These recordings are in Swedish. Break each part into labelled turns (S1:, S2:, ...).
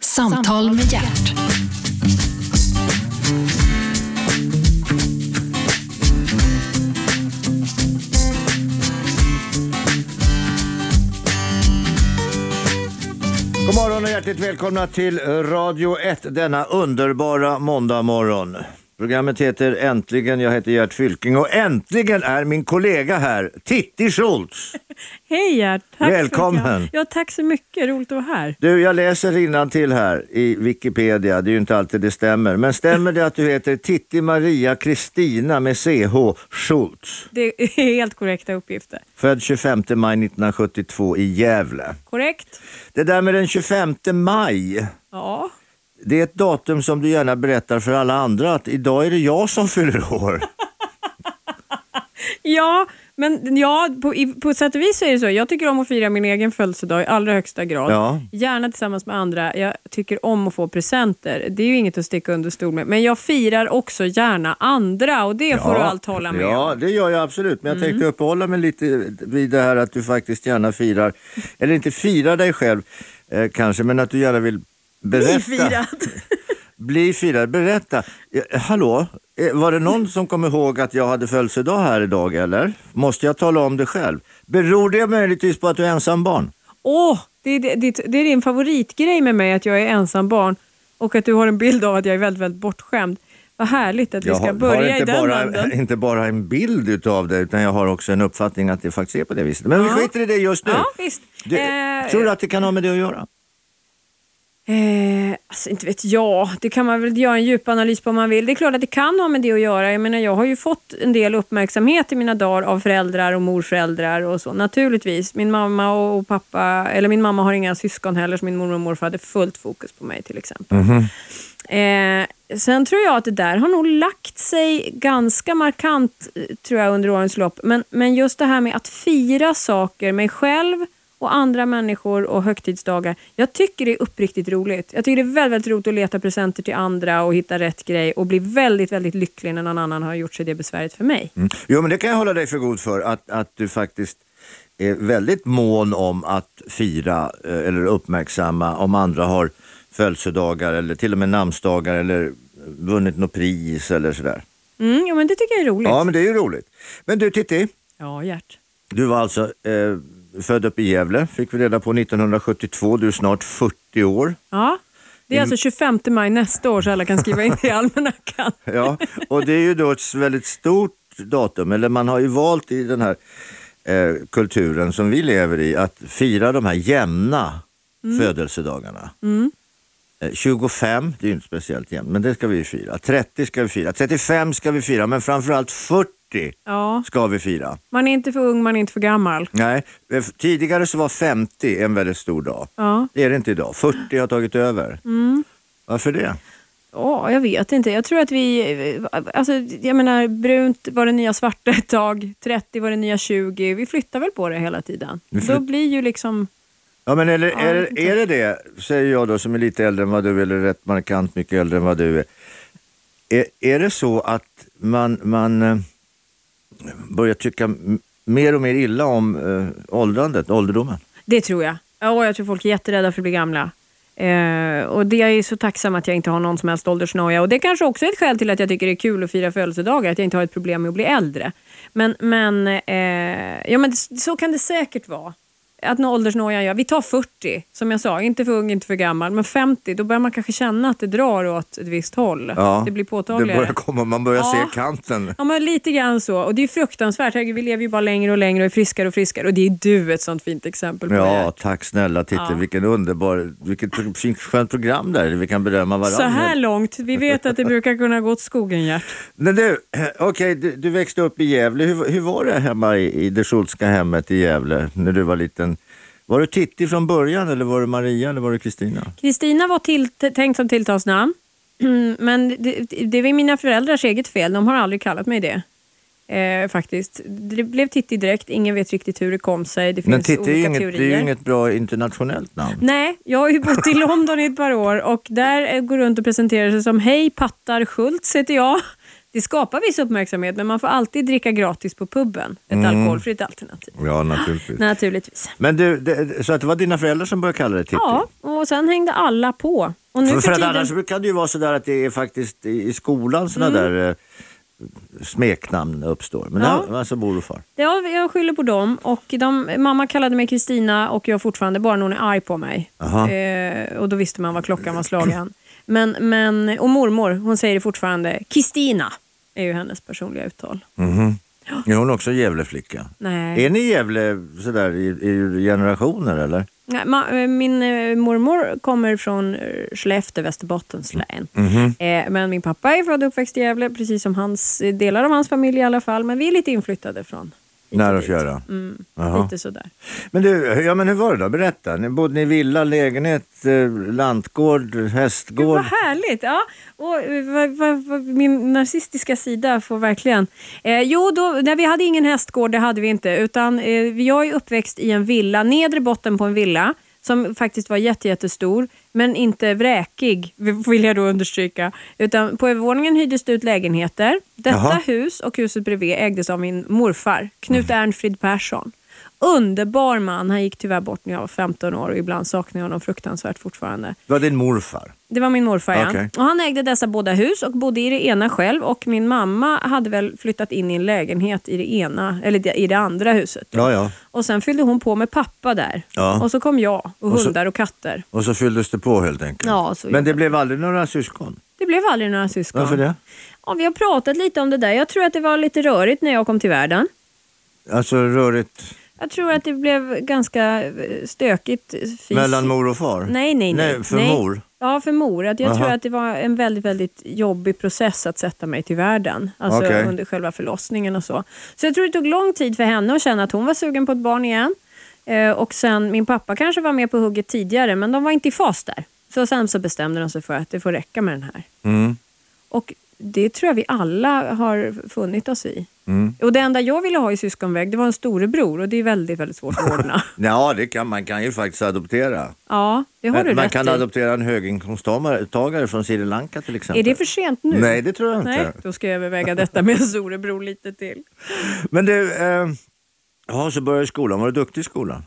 S1: Samtal med hjärt.
S2: God morgon och hjärtligt välkomna till Radio 1 denna underbara måndagmorgon. Programmet heter Äntligen, jag heter Gert Fylking och äntligen är min kollega här, Titti Schultz.
S3: Hej Gert! Tack För att
S2: Välkommen.
S3: jag, ja, tack så mycket, roligt att vara här.
S2: Du, jag läser till här i Wikipedia, det är ju inte alltid det stämmer. Men stämmer det att du heter Titti Maria Kristina med CH Schultz?
S3: Det är helt korrekta uppgifter.
S2: Född 25 maj 1972 i Gävle.
S3: Korrekt?
S2: Det där med den 25 maj,
S3: Ja.
S2: Det är ett datum som du gärna berättar för alla andra att idag är det jag som fyller år.
S3: Ja, men ja, på, i, på sätt och vis så är det så. Jag tycker om att fira min egen födelsedag i allra högsta grad.
S2: Ja.
S3: Gärna tillsammans med andra. Jag tycker om att få presenter. Det är ju inget att sticka under stol med. Men jag firar också gärna andra och det får du allt hålla med om. Mm.
S2: Ja, det gör jag absolut. Men jag tänkte uppehålla mig lite vid det här att du faktiskt gärna firar, eller inte firar dig själv eh, kanske, men att du gärna vill berätta.
S3: Ifirad.
S2: Bli firad. Berätta. Eh, hallå, eh, var det någon som kom ihåg att jag hade födelsedag här idag eller? Måste jag tala om det själv? Beror det möjligtvis på att du är ensam barn?
S3: Åh, det, är det, det, det är din favoritgrej med mig att jag är ensam barn och att du har en bild av att jag är väldigt, väldigt bortskämd. Vad härligt att vi
S2: Jag
S3: ska
S2: har, har
S3: börja i
S2: inte,
S3: den
S2: bara,
S3: änden.
S2: inte bara en bild utav det utan jag har också en uppfattning att det faktiskt är på det viset. Men vi
S3: Ja.
S2: skiter i det just nu.
S3: Ja, visst.
S2: Du,
S3: Eh,
S2: tror du att det kan ha med det att göra?
S3: Eh, alltså inte vet jag, det kan man väl göra en djupanalys på om man vill. Det är klart att det kan ha med det att göra. Jag menar jag har ju fått en del uppmärksamhet i mina dagar av föräldrar och morföräldrar och så naturligtvis. Min mamma och och pappa, eller min mamma har inga syskon heller så min mormor och morfar hade fullt fokus på mig till exempel.
S2: Mhm.
S3: Eh, sen tror jag att det där har nog lagt sig ganska markant eh, tror jag under årens lopp. Men, men just det här med att fira saker, mig själv och andra människor och högtidsdagar. Jag tycker det är uppriktigt roligt. Jag tycker det är väldigt, väldigt roligt att leta presenter till andra och hitta rätt grej och bli väldigt, väldigt lycklig när någon annan har gjort sig det besväret för mig.
S2: Mm. Jo, men det kan jag hålla dig för god för att, att du faktiskt är väldigt mån om att fira eh, eller uppmärksamma om andra har födelsedagar eller till och med namnsdagar eller vunnit något pris eller sådär.
S3: Mm, ja, men det tycker jag är roligt.
S2: Ja,
S3: Ja,
S2: men det är ju roligt. Men du Titti,
S3: Gert.
S2: Du var alltså eh, född upp i Gävle, fick vi reda på 1972. Du är snart 40 år.
S3: Ja. Det är alltså 25 maj nästa år så alla kan skriva in det i almanackan.
S2: Ja, och det är ju då ett väldigt stort datum, eller man har ju valt i den här eh, kulturen som vi lever i att fira de här jämna
S3: Mm.
S2: födelsedagarna. Eh, 25, det är ju inte speciellt jämnt, men det ska vi ju fira. 30 ska vi fira, 35 ska vi fira, men framförallt 40
S3: Ja,
S2: ska vi fira.
S3: man är inte för ung, man är inte för gammal.
S2: Nej, eh, tidigare så var 50 en väldigt stor dag.
S3: Ja. Mm.
S2: Det är det inte idag. 40 har tagit över. Varför det?
S3: Ja, jag vet inte. Jag tror att vi... Alltså, jag menar, brunt var det nya svarta ett tag, 30 var det nya 20. Vi flyttar väl på det hela tiden. Då blir ju liksom...
S2: Ja, men eller,
S3: jag
S2: är,
S3: vet
S2: är det det, säger jag då som är lite äldre än vad du är, eller rätt markant mycket äldre än vad du är. Är, är det så att man, man eh, börjar tycka m- mer och mer illa om eh, åldrandet, ålderdomen?
S3: Det tror jag. Ja, jag tror folk är jätterädda för att bli gamla. Eh, och det är jag ju så tacksam att jag inte har någon som helst åldersnoja. Och det kanske också är ett skäl till att jag tycker det är kul att fira födelsedagar, att jag inte har ett problem med att bli äldre. Men, men, eh, ja, men det, så kan det säkert vara. Att nå åldersnojan gör. Vi tar 40, som jag sa. Inte för ung, inte för gammal. Men 50, då börjar man kanske känna att det drar åt ett visst håll. det blir
S2: Det
S3: påtagligare.
S2: börjar komma, man börjar
S3: Ja.
S2: se kanten.
S3: Ja, men lite grann så. Och det är ju fruktansvärt. Herregud, vi lever ju bara längre och längre och är friskare och friskare. Och det är du ett sånt fint exempel på.
S2: Ja,
S3: Gert.
S2: tack snälla Titti.
S3: Ja.
S2: Vilken underbar, vilket pro- fint, skönt program där vi kan berömma varandra.
S3: Så här långt. Vi vet att det brukar kunna gå åt skogen, Gert.
S2: Men du, okej, du, du växte upp i Gävle. Hur, hur var det hemma i, i det Schultzska hemmet i Gävle när du var liten? Var du Titti från början eller var du Maria eller var du Kristina?
S3: Kristina var till, tänkt som tilltalsnamn, men det, det var mina föräldrars eget fel. De har aldrig kallat mig det. Eh, faktiskt. Det blev Titti direkt. Ingen vet riktigt hur det kom sig. Det finns
S2: Men Titti är ju,
S3: olika
S2: inget,
S3: teorier.
S2: det är ju inget bra internationellt namn.
S3: Nej, jag har ju bott i London i ett par år och där eh, går runt och presenterar sig som Hej Pattar Schultz heter jag. Det skapar viss uppmärksamhet men man får alltid dricka gratis på puben. Ett
S2: Mm.
S3: alkoholfritt alternativ.
S2: Ja, naturligtvis.
S3: Naturligtvis.
S2: Men du, det, så att det var dina föräldrar som började kalla dig Titti?
S3: Ja, och sen hängde alla på. Och nu
S2: för,
S3: för,
S2: för att
S3: tiden...
S2: annars brukar det ju vara sådär att det är faktiskt i i skolan sådana där eh, smeknamn uppstår.
S3: Mm.
S2: Men
S3: Ja.
S2: ja. alltså mor och far.
S3: Ja, jag skyller på dem. Och de, mamma kallade mig Kristina och jag fortfarande bara när hon är arg på mig.
S2: Aha.
S3: Eh, och då visste man vad klockan var slagen. Men, men, och mormor, hon säger det fortfarande. Kristina är ju hennes personliga uttal.
S2: Mhm. Är hon också Gävleflicka?
S3: Nej.
S2: Är ni Gävle sådär i, i generationer eller?
S3: Nej, ma- eh, Min eh, mormor kommer från eh, Skellefteå, Västerbottens län.
S2: Mhm.
S3: Eh, Men min pappa är född och uppväxt i Gävle, precis som hans, eh, delar av hans familj i alla fall. Men vi är lite inflyttade från hit och
S2: Nära och
S3: dit.
S2: fjärran.
S3: Mm,
S2: Jaha.
S3: lite sådär.
S2: Men du, ja men hur var det då? Berätta. Ni bodde ni i villa, lägenhet, eh, lantgård, hästgård?
S3: Vad härligt! Ja. Och, eh, vad- vad- vad- min narcissistiska sida får verkligen... Eh, jo, då, nej, vi hade ingen hästgård, det hade vi inte. Utan, eh, jag är uppväxt i en villa, nedre botten på en villa som faktiskt var jätte, jättestor, men inte vräkig vill jag då understryka. Utan på övervåningen hyrdes det ut lägenheter. Detta
S2: Jaha.
S3: hus och huset bredvid ägdes av min morfar, Knut Ernfrid Persson. Underbar man, han gick tyvärr bort när jag var 15 år och ibland saknar jag honom fruktansvärt fortfarande.
S2: Det var din morfar?
S3: Det var min morfar ja.
S2: Okej.
S3: Och han ägde dessa båda hus och bodde i det ena själv och min mamma hade väl flyttat in i en lägenhet i det ena, eller det- i det andra huset. då.
S2: Ja, ja.
S3: Och sen fyllde hon på med pappa där.
S2: Ja.
S3: Och så kom jag och,
S2: Och så-
S3: hundar och katter.
S2: Och så fylldes det på helt enkelt?
S3: Ja, så
S2: men
S3: gjorde
S2: det blev aldrig några syskon?
S3: Det blev aldrig några syskon.
S2: Varför det?
S3: Ja, vi har pratat lite om det där. Jag tror att det var lite rörigt när jag kom till världen.
S2: Alltså rörigt
S3: Jag tror att det blev ganska eh, stökigt. eh, Fys-
S2: mellan mor och far?
S3: Nej, nej, nej.
S2: nej för
S3: nej.
S2: mor?
S3: Ja, för mor. Att jag
S2: Aha.
S3: tror att det var en väldigt, väldigt jobbig process att sätta mig till världen. Alltså
S2: Okej.
S3: under själva förlossningen och så. Så jag tror det tog lång tid för henne att känna att hon var sugen på ett barn igen. Eh, och sen, min pappa kanske var med på hugget tidigare, men de var inte i fas där. Så sen så bestämde de sig för att det får räcka med den här.
S2: Mm.
S3: Och det tror jag vi alla har funnit oss i.
S2: Mm.
S3: Och det enda jag ville ha i syskonväg, det var en storebror och det är väldigt, väldigt svårt att ordna.
S2: Ja, det kan, man kan ju faktiskt adoptera.
S3: ja, det har
S2: Men
S3: du
S2: man
S3: rätt
S2: kan
S3: i.
S2: adoptera en höginkomsttagare tagare från Sri Lanka till exempel.
S3: Är det för sent nu?
S2: Nej, det tror jag inte.
S3: Nej, då ska jag överväga detta med en storebror lite till.
S2: Men du, eh, ja, så började skolan. Var du duktig i skolan?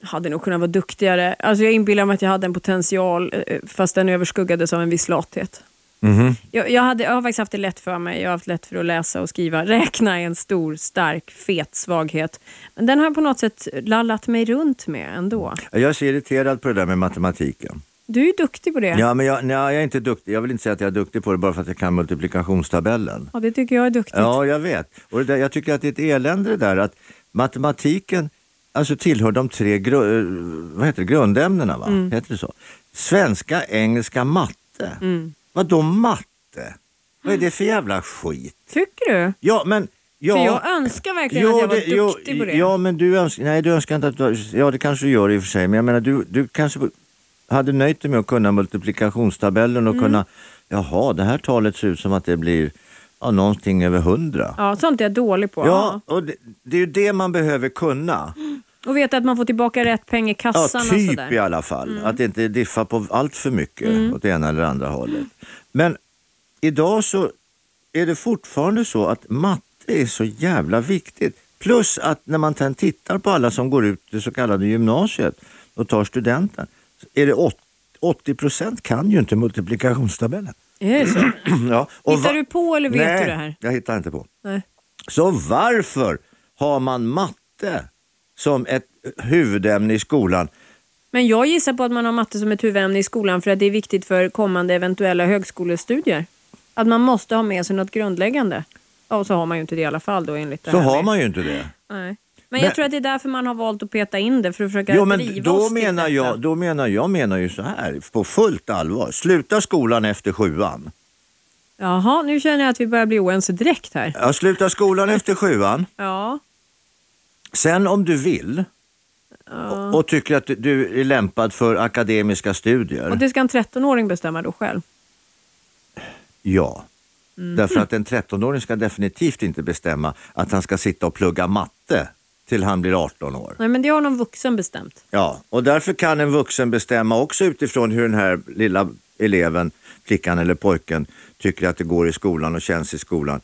S3: Jag hade nog kunnat vara duktigare. Alltså jag inbillar mig att jag hade en potential eh, fast den överskuggades av en viss lathet.
S2: Mhm.
S3: Jag, jag, hade, jag har faktiskt haft det lätt för mig. Jag har haft lätt för att läsa och skriva. Räkna är en stor, stark, fet svaghet. Men den har jag på något sätt lallat mig runt med ändå.
S2: Jag är så irriterad på det där med matematiken.
S3: Du är ju duktig på det.
S2: Ja, men jag, nej, jag är inte duktig. Jag vill inte säga att jag är duktig på det bara för att jag kan multiplikationstabellen.
S3: Ja, det tycker jag är duktigt.
S2: Ja, jag vet. Och det där, jag tycker att det är ett elände det där att matematiken alltså tillhör de tre gru, eh, vad heter det, grundämnena. Va?
S3: Mm.
S2: Heter det så? Svenska, engelska, matte.
S3: Mm.
S2: Vadå matte? Vad är det för jävla skit?
S3: Tycker du?
S2: Ja, men... Ja,
S3: För jag önskar verkligen att jag var duktig på det.
S2: Ja, men du önskar, nej, du önskar inte att du, ja det kanske du gör i och för sig, men jag menar du, du kanske hade nöjt dig med att kunna multiplikationstabellen
S3: Mm.
S2: och kunna, jaha, det här talet ser ut som att det blir ja, någonting över hundra.
S3: Ja, sånt är jag dålig på.
S2: Ja, och det, det är ju det man behöver kunna.
S3: Och veta att man får tillbaka rätt peng i
S2: Ja,
S3: kassan och
S2: typ
S3: sådär. Mm.
S2: i alla fall. Att inte diffa på allt för mycket åt det ena eller andra hållet. Men idag så är det fortfarande så att matte är så jävla viktigt. Plus att när man sen tittar på alla som går ut det så kallade gymnasiet och tar studenten, så är det åt- 80 procent kan ju inte multiplikationstabellen.
S3: Är det så?
S2: ja, och
S3: Hittar
S2: va-
S3: du på eller vet
S2: Nej,
S3: du det här?
S2: jag hittar inte på.
S3: Nej.
S2: Så varför har man matte som ett huvudämne i skolan?
S3: Men jag gissar på att man har matte som ett huvudämne i skolan för att det är viktigt för kommande eventuella högskolestudier. Att man måste ha med sig något grundläggande. Ja, Och så har man ju inte det i alla fall då enligt det
S2: Så
S3: här
S2: har
S3: med-
S2: man ju inte det.
S3: Nej. Men,
S2: Men-
S3: jag tror att det är därför man har valt att peta in det för att försöka
S2: Jo, men
S3: driva
S2: då
S3: oss till
S2: menar,
S3: detta.
S2: jag, då menar jag menar ju så här på fullt allvar. Sluta skolan efter sjuan.
S3: Jaha, nu känner jag att vi börjar bli oense direkt här.
S2: Ja, sluta skolan efter sjuan.
S3: Ja,
S2: Sen om du vill och, och tycker att du är lämpad för akademiska studier.
S3: och det ska en 13-åring bestämma då själv.
S2: Ja.
S3: Mm.
S2: Därför att en 13-åring ska definitivt inte bestämma att han ska sitta och plugga matte till han blir 18 år.
S3: Nej, men det har någon vuxen bestämt.
S2: Ja, och därför kan en vuxen bestämma också utifrån hur den här lilla eleven, flickan eller pojken, tycker att det går i skolan och känns i skolan.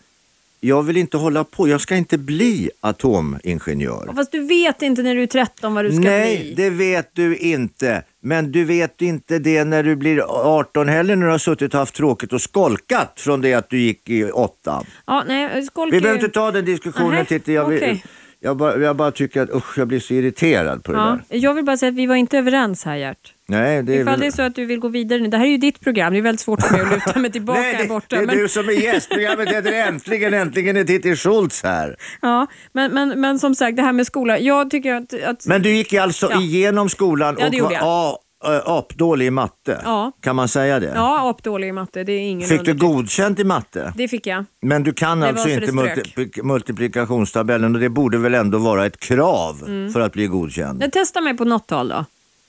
S2: jag vill inte hålla på, jag ska inte bli atomingenjör.
S3: Fast du vet inte när du är 13 vad du ska
S2: Nej,
S3: bli.
S2: det vet du inte. Men du vet inte det när du blir 18 heller när du har suttit och haft tråkigt och skolkat från det att du gick i åttan.
S3: Ja, nej, skolk
S2: Vi
S3: är
S2: behöver
S3: ju-
S2: inte ta den diskussionen
S3: Nähä,
S2: Titti. Jag, vill-
S3: okej.
S2: jag, bara, jag bara tycker att usch, jag blir så irriterad på det
S3: ja,
S2: där.
S3: Jag vill bara säga att vi var inte överens här Gert.
S2: Nej, det är
S3: Ifall
S2: väl...
S3: det är så att du vill gå vidare nu. Det här är ju ditt program. Det är väldigt svårt för mig att luta mig tillbaka
S2: Nej,
S3: här
S2: det,
S3: borta.
S2: det är
S3: men,
S2: du som är gäst. Programmet heter Äntligen, äntligen är Titti Schultz här.
S3: ja, men, men, men som sagt, det här med skola. Jag tycker att... att
S2: Men du gick ju alltså
S3: Ja.
S2: igenom skolan
S3: Ja,
S2: och
S3: det
S2: var
S3: gjorde
S2: a, ö, apdålig i matte.
S3: Ja.
S2: Kan man säga det?
S3: ja, apdålig i matte. Det är ingen
S2: Fick du
S3: under-
S2: godkänt i matte?
S3: Det fick jag.
S2: Men du kan
S3: var
S2: alltså
S3: så det
S2: inte
S3: strök.
S2: multipli- multiplikationstabellen och det borde väl ändå vara ett krav
S3: Mm.
S2: för att bli godkänd?
S3: Men testa mig på något tal då.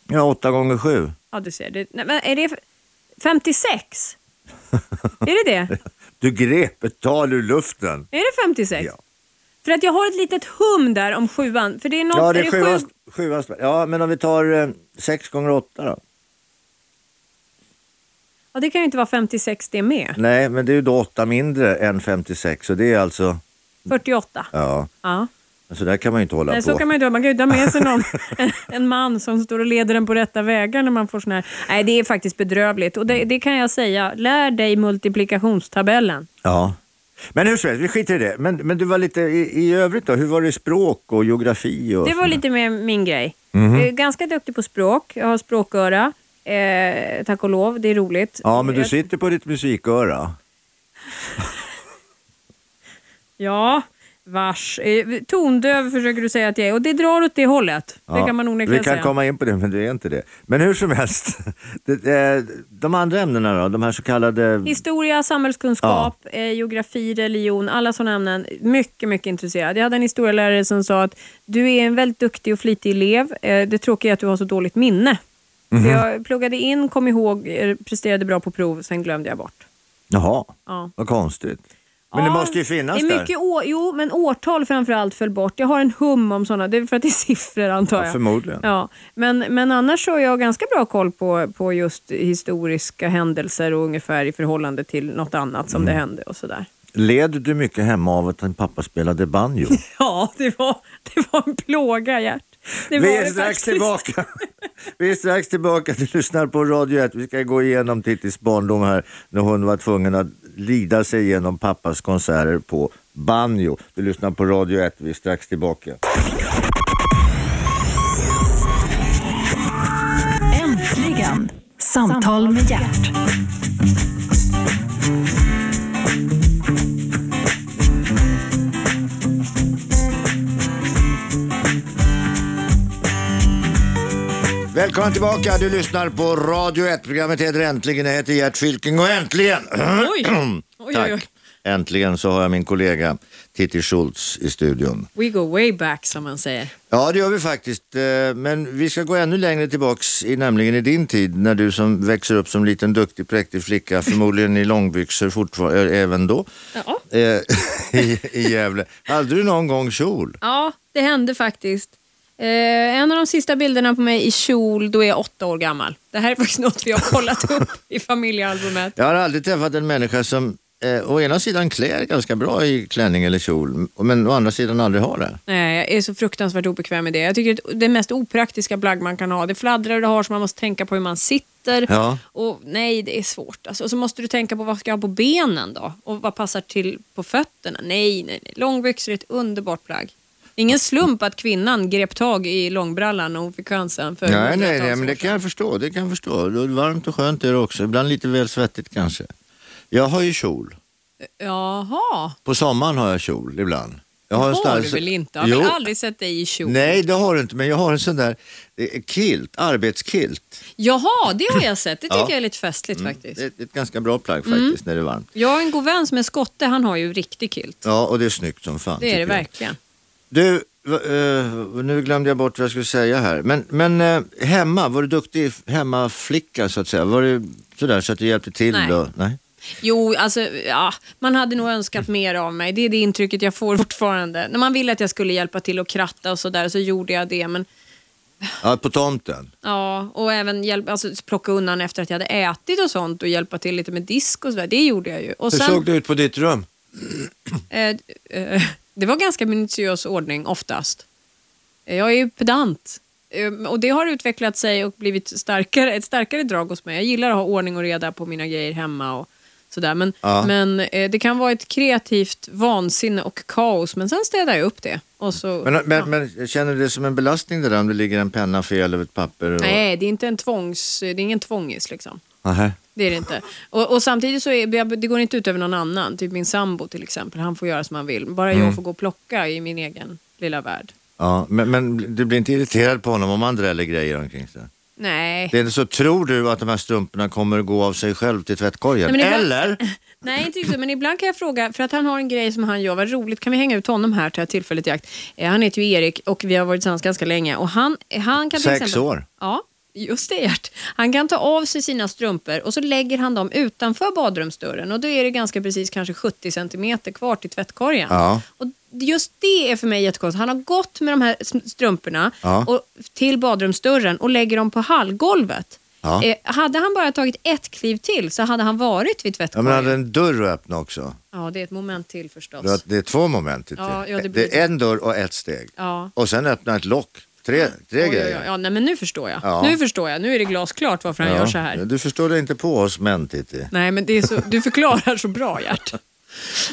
S2: Ja, 8 gånger 7.
S3: Ja, du ser. Det, nej, men är det 56? är det det?
S2: Du grep ett tal ur luften.
S3: Är det 56?
S2: Ja.
S3: För att jag har ett litet hum där om sjuan. För det är något...
S2: Ja, det är
S3: sju-
S2: sjuan- sjuan sp- Ja, men om vi tar eh, 6 gånger 8 då?
S3: Ja, det kan ju inte vara 56 det med.
S2: Nej, men det är ju då 8 mindre än 56 så det är alltså,
S3: 48.
S2: ja,
S3: Ja.
S2: så där kan man ju inte hålla
S3: Nej,
S2: på.
S3: så kan man ju inte göra. Man kan ju inte ha med sig någon, en, en man som står och leder den på rätta vägar när man får sån här... Nej, det är faktiskt bedrövligt. Och det,
S2: Mm.
S3: det kan jag säga. Lär dig multiplikationstabellen.
S2: Ja. Men hur som helst, vi skiter i det. Men, men du var lite i, i övrigt då, hur var det i språk och geografi? Och
S3: Det var
S2: sådär?
S3: lite mer min grej.
S2: Mhm.
S3: Jag är ganska duktig på språk. Jag har språköra. Eh, tack och lov, det är roligt. Eh,
S2: Ja, men du
S3: jag,
S2: sitter på ditt musiköra.
S3: Ja, vars. Eh, tondöv försöker du säga att jag är och det drar åt det hållet. det
S2: Ja,
S3: kan man onekligen
S2: Vi kan
S3: säga.
S2: komma in på det, men du är inte det. Men hur som helst, det, eh, de andra ämnena då, de här så kallade...
S3: Historia, samhällskunskap, eh, geografi, religion, alla sådana ämnen. Mycket, mycket intresserad. Jag hade en historielärare som sa att du är en väldigt duktig och flitig elev. Eh, det tråkiga är att du har så dåligt minne.
S2: Mhm.
S3: Så jag pluggade in, kom ihåg, eh, presterade bra på prov, sen glömde jag bort.
S2: Jaha,
S3: Ja.
S2: vad konstigt. Men det
S3: Ja,
S2: måste ju finnas
S3: det är
S2: där.
S3: mycket å- Jo, men årtal framförallt föll bort. Jag har en hum om sådana. Det är för att det är siffror antar jag.
S2: Ja, förmodligen.
S3: Ja, men, men annars så har jag ganska bra koll på, på just historiska händelser och ungefär i förhållande till något annat
S2: Mm.
S3: som det hände och sådär.
S2: Led du mycket hemma av att din pappa spelade banjo?
S3: Ja, det var, det var en plåga Gert. Det var
S2: Vi är
S3: det
S2: strax
S3: faktiskt.
S2: tillbaka. Vi är strax tillbaka. Du lyssnar på Radio 1. Vi ska gå igenom Tittis barndom här när hon var tvungen att lida sig igenom pappas konserter på banjo. Du lyssnar på Radio 1. Vi är strax tillbaka.
S1: Äntligen! Samtal med hjärt.
S2: Välkommen tillbaka. Du lyssnar på Radio 1. Programmet heter Äntligen. Jag heter Gert Fylking och äntligen!
S3: Oj. oj, oj, oj.
S2: Tack. Äntligen så har jag min kollega Titti Schultz i studion.
S3: We go way back som man säger.
S2: Ja, det gör vi faktiskt. eh, Men vi ska gå ännu längre tillbaks, i, nämligen i din tid när du som växer upp som liten duktig präktig flicka, förmodligen i långbyxor fortfarande, äh, även då,
S3: Ja.
S2: eh, i, i Gävle. Hade du någon gång kjol?
S3: Ja, det hände faktiskt. Eh, en av de sista bilderna på mig i kjol, då är jag åtta år gammal. Det här är faktiskt något vi har kollat upp i familjealbumet.
S2: Jag har aldrig träffat en människa som eh, å ena sidan klär ganska bra i klänning eller kjol, men å andra sidan aldrig har det.
S3: Nej, jag är så fruktansvärt obekväm med det. Jag tycker att det är mest opraktiska plagg man kan ha. Det fladdrar och det har så man måste tänka på hur man sitter.
S2: Ja.
S3: Och nej, det är svårt. Alltså, och så måste du tänka på vad ska jag ha på benen då? Och vad passar till på fötterna? Nej, nej, nej. Långbyxor är ett underbart plagg. Ingen slump att kvinnan grep tag i långbrallan när hon fick chansen. För
S2: Nej, nej, nej,
S3: hundratals
S2: men det
S3: år
S2: kan jag förstå. Det kan jag förstå. Det är varmt och skönt är det också. Ibland lite väl svettigt kanske. Jag har ju kjol.
S3: sedan. Jaha.
S2: På sommaren har jag kjol ibland. Jag har en sån
S3: har
S2: där-
S3: du väl inte? Jag har
S2: alltså- Jo.
S3: väl aldrig sett dig i kjol?
S2: Nej, det har du inte, men jag har en sån där eh, kilt, arbetskilt.
S3: Jaha, det har jag sett. Det tycker
S2: Ja. Mm.
S3: jag är lite festligt faktiskt.
S2: Det är ett, ett ganska bra plagg
S3: Mm.
S2: faktiskt när det är varmt.
S3: Jag har en god vän som är skotte, han har ju riktig kilt.
S2: Ja, och det är snyggt som fan.
S3: Det är det
S2: tycker jag.
S3: verkligen.
S2: Du, va- eh, nu glömde jag bort vad jag skulle säga här. Men, men eh, hemma, var du duktig hemmaflicka så att säga? Var du sådär så att du hjälpte till?
S3: Nej.
S2: Och, nej.
S3: Jo, alltså, ja, man hade nog önskat mer av mig. Det är det intrycket jag får fortfarande. När man ville att jag skulle hjälpa till och kratta och sådär så gjorde jag det. Men,
S2: Ja, på tomten.
S3: ja, och även hjälp, alltså, plocka undan efter att jag hade ätit och sånt och hjälpa till lite med disk och sådär. Det gjorde jag ju. Och
S2: Hur
S3: sen,
S2: såg det ut på ditt rum?
S3: Eh, eh, det var ganska minutiös ordning oftast. Eh, Jag är ju pedant. Eh, Och det har utvecklat sig och blivit starkare, ett starkare drag hos mig. Jag gillar att ha ordning och reda på mina grejer hemma och sådär. Men,
S2: Ja.
S3: men eh, det kan vara ett kreativt vansinne och kaos. Men sen städar jag upp det. Och så,
S2: Men, men,
S3: ja.
S2: men känner du det som en belastning det där om det ligger en penna fel över ett papper? Och...
S3: Nej, det är inte en tvångs... Det är ingen tvångis liksom.
S2: Nähä.
S3: Det är det inte. Och, och samtidigt så är, jag- det går inte ut över någon annan. Typ min sambo till exempel. Han får göra som han vill. Bara
S2: Mm.
S3: jag får gå och plocka i min egen lilla värld.
S2: Ja, men, men du blir inte irriterad på honom om han dräller grejer omkring sig?
S3: Nej.
S2: Det är inte så, tror du att de här strumporna kommer gå av sig själv till
S3: Nej,
S2: tvättkorgen?
S3: men ibland-
S2: Eller?
S3: Nej, inte riktigt. Men ibland kan jag fråga, för att han har en grej som han gör. Vad roligt, kan vi hänga ut honom här till ett tillfälligt jakt? Eh, han heter ju Erik och vi har varit tillsammans ganska länge. Och han, eh, han kan till
S2: Sex
S3: exempel,
S2: år.
S3: Ja, just det Gert. Han kan ta av sig sina strumpor och så lägger han dem utanför badrumsdörren. Och då är det ganska precis kanske 70 centimeter kvar till tvättkorgen.
S2: Ja.
S3: Och just det är för mig jättekonstigt. Han har gått med de här s- strumporna
S2: Ja.
S3: och, till badrumsdörren och lägger dem på hallgolvet.
S2: Ja.
S3: Eh, hade han bara tagit ett kliv till så hade han varit vid
S2: Ja,
S3: tvättkorgen.
S2: men hade en dörr att öppna också?
S3: Ja, det är ett moment till förstås.
S2: Du har- Det är två moment. i
S3: Ja,
S2: det.
S3: ja, det
S2: det,
S3: blir
S2: är en dörr och ett steg.
S3: Ja.
S2: Och sen öppna ett lock. Tre, tre
S3: Oj, oj,
S2: grejer.
S3: oj. Ja, nej, men nu förstår jag.
S2: Ja.
S3: Nu förstår jag. Nu är det glasklart varför han
S2: Ja,
S3: gör så här.
S2: Du förstår det inte på oss män, Titti.
S3: Nej, men det är så, du förklarar så bra, Gert.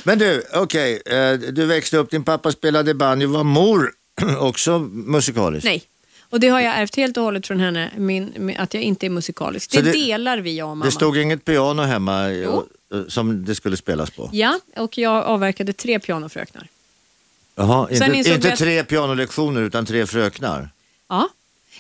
S2: Men du, okej. eh, du växte upp, din pappa spelade banjo. Var mor också musikalisk?
S3: Nej. Och det har jag ärvt helt och hållet från henne, min, min, att jag inte är musikalisk. Det,
S2: Så det-
S3: delar vi, jag och mamma.
S2: Det stod inget piano hemma eh,
S3: Jo.
S2: eh, som det skulle spelas på?
S3: Ja, och jag avverkade tre pianofröknar.
S2: Jaha,
S3: Sen
S2: inte,
S3: insåg
S2: inte
S3: jag att-
S2: tre pianolektioner utan tre fröknar?
S3: Ja.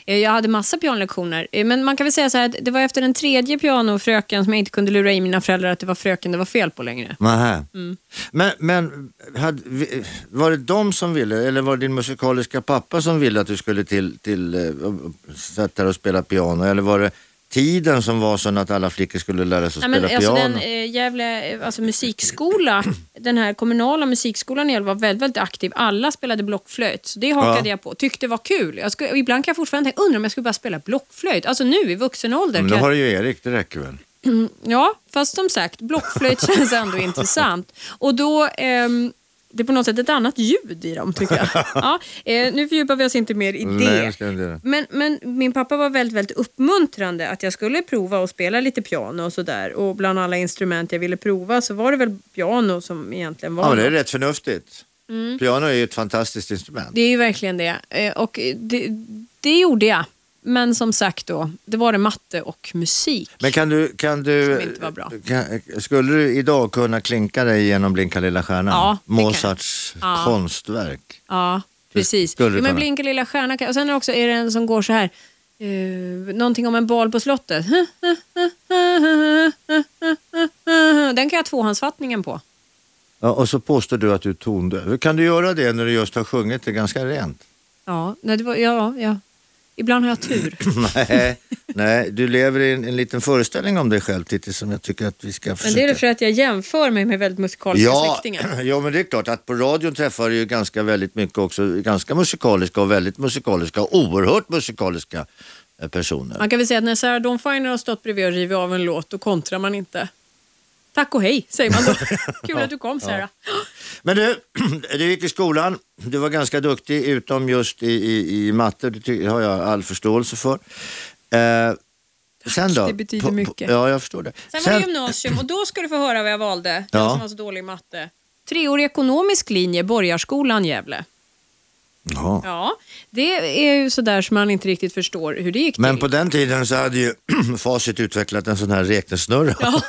S3: Eh, Jag hade massa pianolektioner, Eh, men man kan väl säga så här att det var efter den tredje pianofröken som jag inte kunde lura i mina föräldrar att det var fröken det var fel på längre.
S2: Nähä.
S3: Mm.
S2: Men, men hade, vi- var det de som ville, eller var det din musikaliska pappa som ville att du skulle till, till eh, och- och sätta dig och spela piano? Eller var det tiden som var sån att alla flickor skulle lära sig att
S3: Nej, men
S2: spela
S3: alltså
S2: piano?
S3: den eh, jävla eh, alltså musikskola, den här kommunala musikskolan i Gävle var väldigt, väldigt aktiv. Alla spelade blockflöjt, så det hakade
S2: Ja.
S3: jag på. Tyckte det var kul. Jag skulle, och ibland kan jag fortfarande tänka, undrar om jag skulle bara spela blockflöjt. Alltså nu i vuxen ålder. kan
S2: Men då
S3: jag-
S2: har du ju Erik, det räcker väl?
S3: Ja, fast som sagt, blockflöjt känns ändå intressant. Och då, ehm, det är på något sätt ett annat ljud i dem tycker jag. Ja, eh, nu fördjupar vi oss inte mer i
S2: Nej,
S3: det.
S2: jag ska inte göra det.
S3: Men, men min pappa var väldigt, väldigt uppmuntrande att jag skulle prova och spela lite piano och sådär. Och bland alla instrument jag ville prova så var det väl piano som egentligen var
S2: Ja, men det är
S3: något.
S2: rätt förnuftigt.
S3: Mm.
S2: Piano är ju ett fantastiskt instrument.
S3: Det är ju verkligen det. Eh, Och det, det gjorde jag. Men som sagt då, det var det matte och musik.
S2: Men kan du, kan du
S3: Som inte var bra.
S2: Kan, skulle du idag kunna klinka dig igenom Blinka lilla stjärnan?
S3: Ja, det kan jag.
S2: Mozarts
S3: Ja.
S2: konstverk.
S3: Ja, precis.
S2: skulle du
S3: Jo, men
S2: kunna.
S3: Blinka lilla stjärna. kan- Och sen är det också är det en som går så här. Uh, någonting om en bal på slottet. Den kan jag tvåhandsfattningen på.
S2: Ja, och så påstår du att du är tondöv. Kan du göra det när du just har sjungit det ganska rent?
S3: Ja, nej, det var, ja, ja. Ibland har jag tur.
S2: nej, nej, du lever i en, en liten föreställning om dig själv Titti som jag tycker att vi ska
S3: Men det
S2: försöka...
S3: är för att jag jämför mig med väldigt musikaliska
S2: ja,
S3: släktingar.
S2: ja, men det är klart att på radion träffar du ju ganska väldigt mycket också, ganska musikaliska och väldigt musikaliska och oerhört musikaliska eh, personer.
S3: Man kan väl säga att när Sarah Dawn Finer har stått bredvid och rivit av en låt, då kontrar man inte. Tack och hej, säger man då. Kul att du kom Sarah.
S2: Men du, du gick i skolan, du var ganska duktig utom just i, i, i matte, det ty- har jag all förståelse för. Eh, sen då?
S3: det betyder mycket.
S2: Ja, jag förstår det.
S3: Sen, var det gymnasium och då ska du få höra vad jag valde. Jag
S2: Ja.
S3: som var så dålig i matte. Treårig ekonomisk linje, Borgarskolan Gävle.
S2: Jaha.
S3: Ja, det är ju sådär som man inte riktigt förstår hur det gick
S2: Men
S3: till.
S2: på den tiden så hade ju Facit utvecklat en sån här räknesnurra. Ja,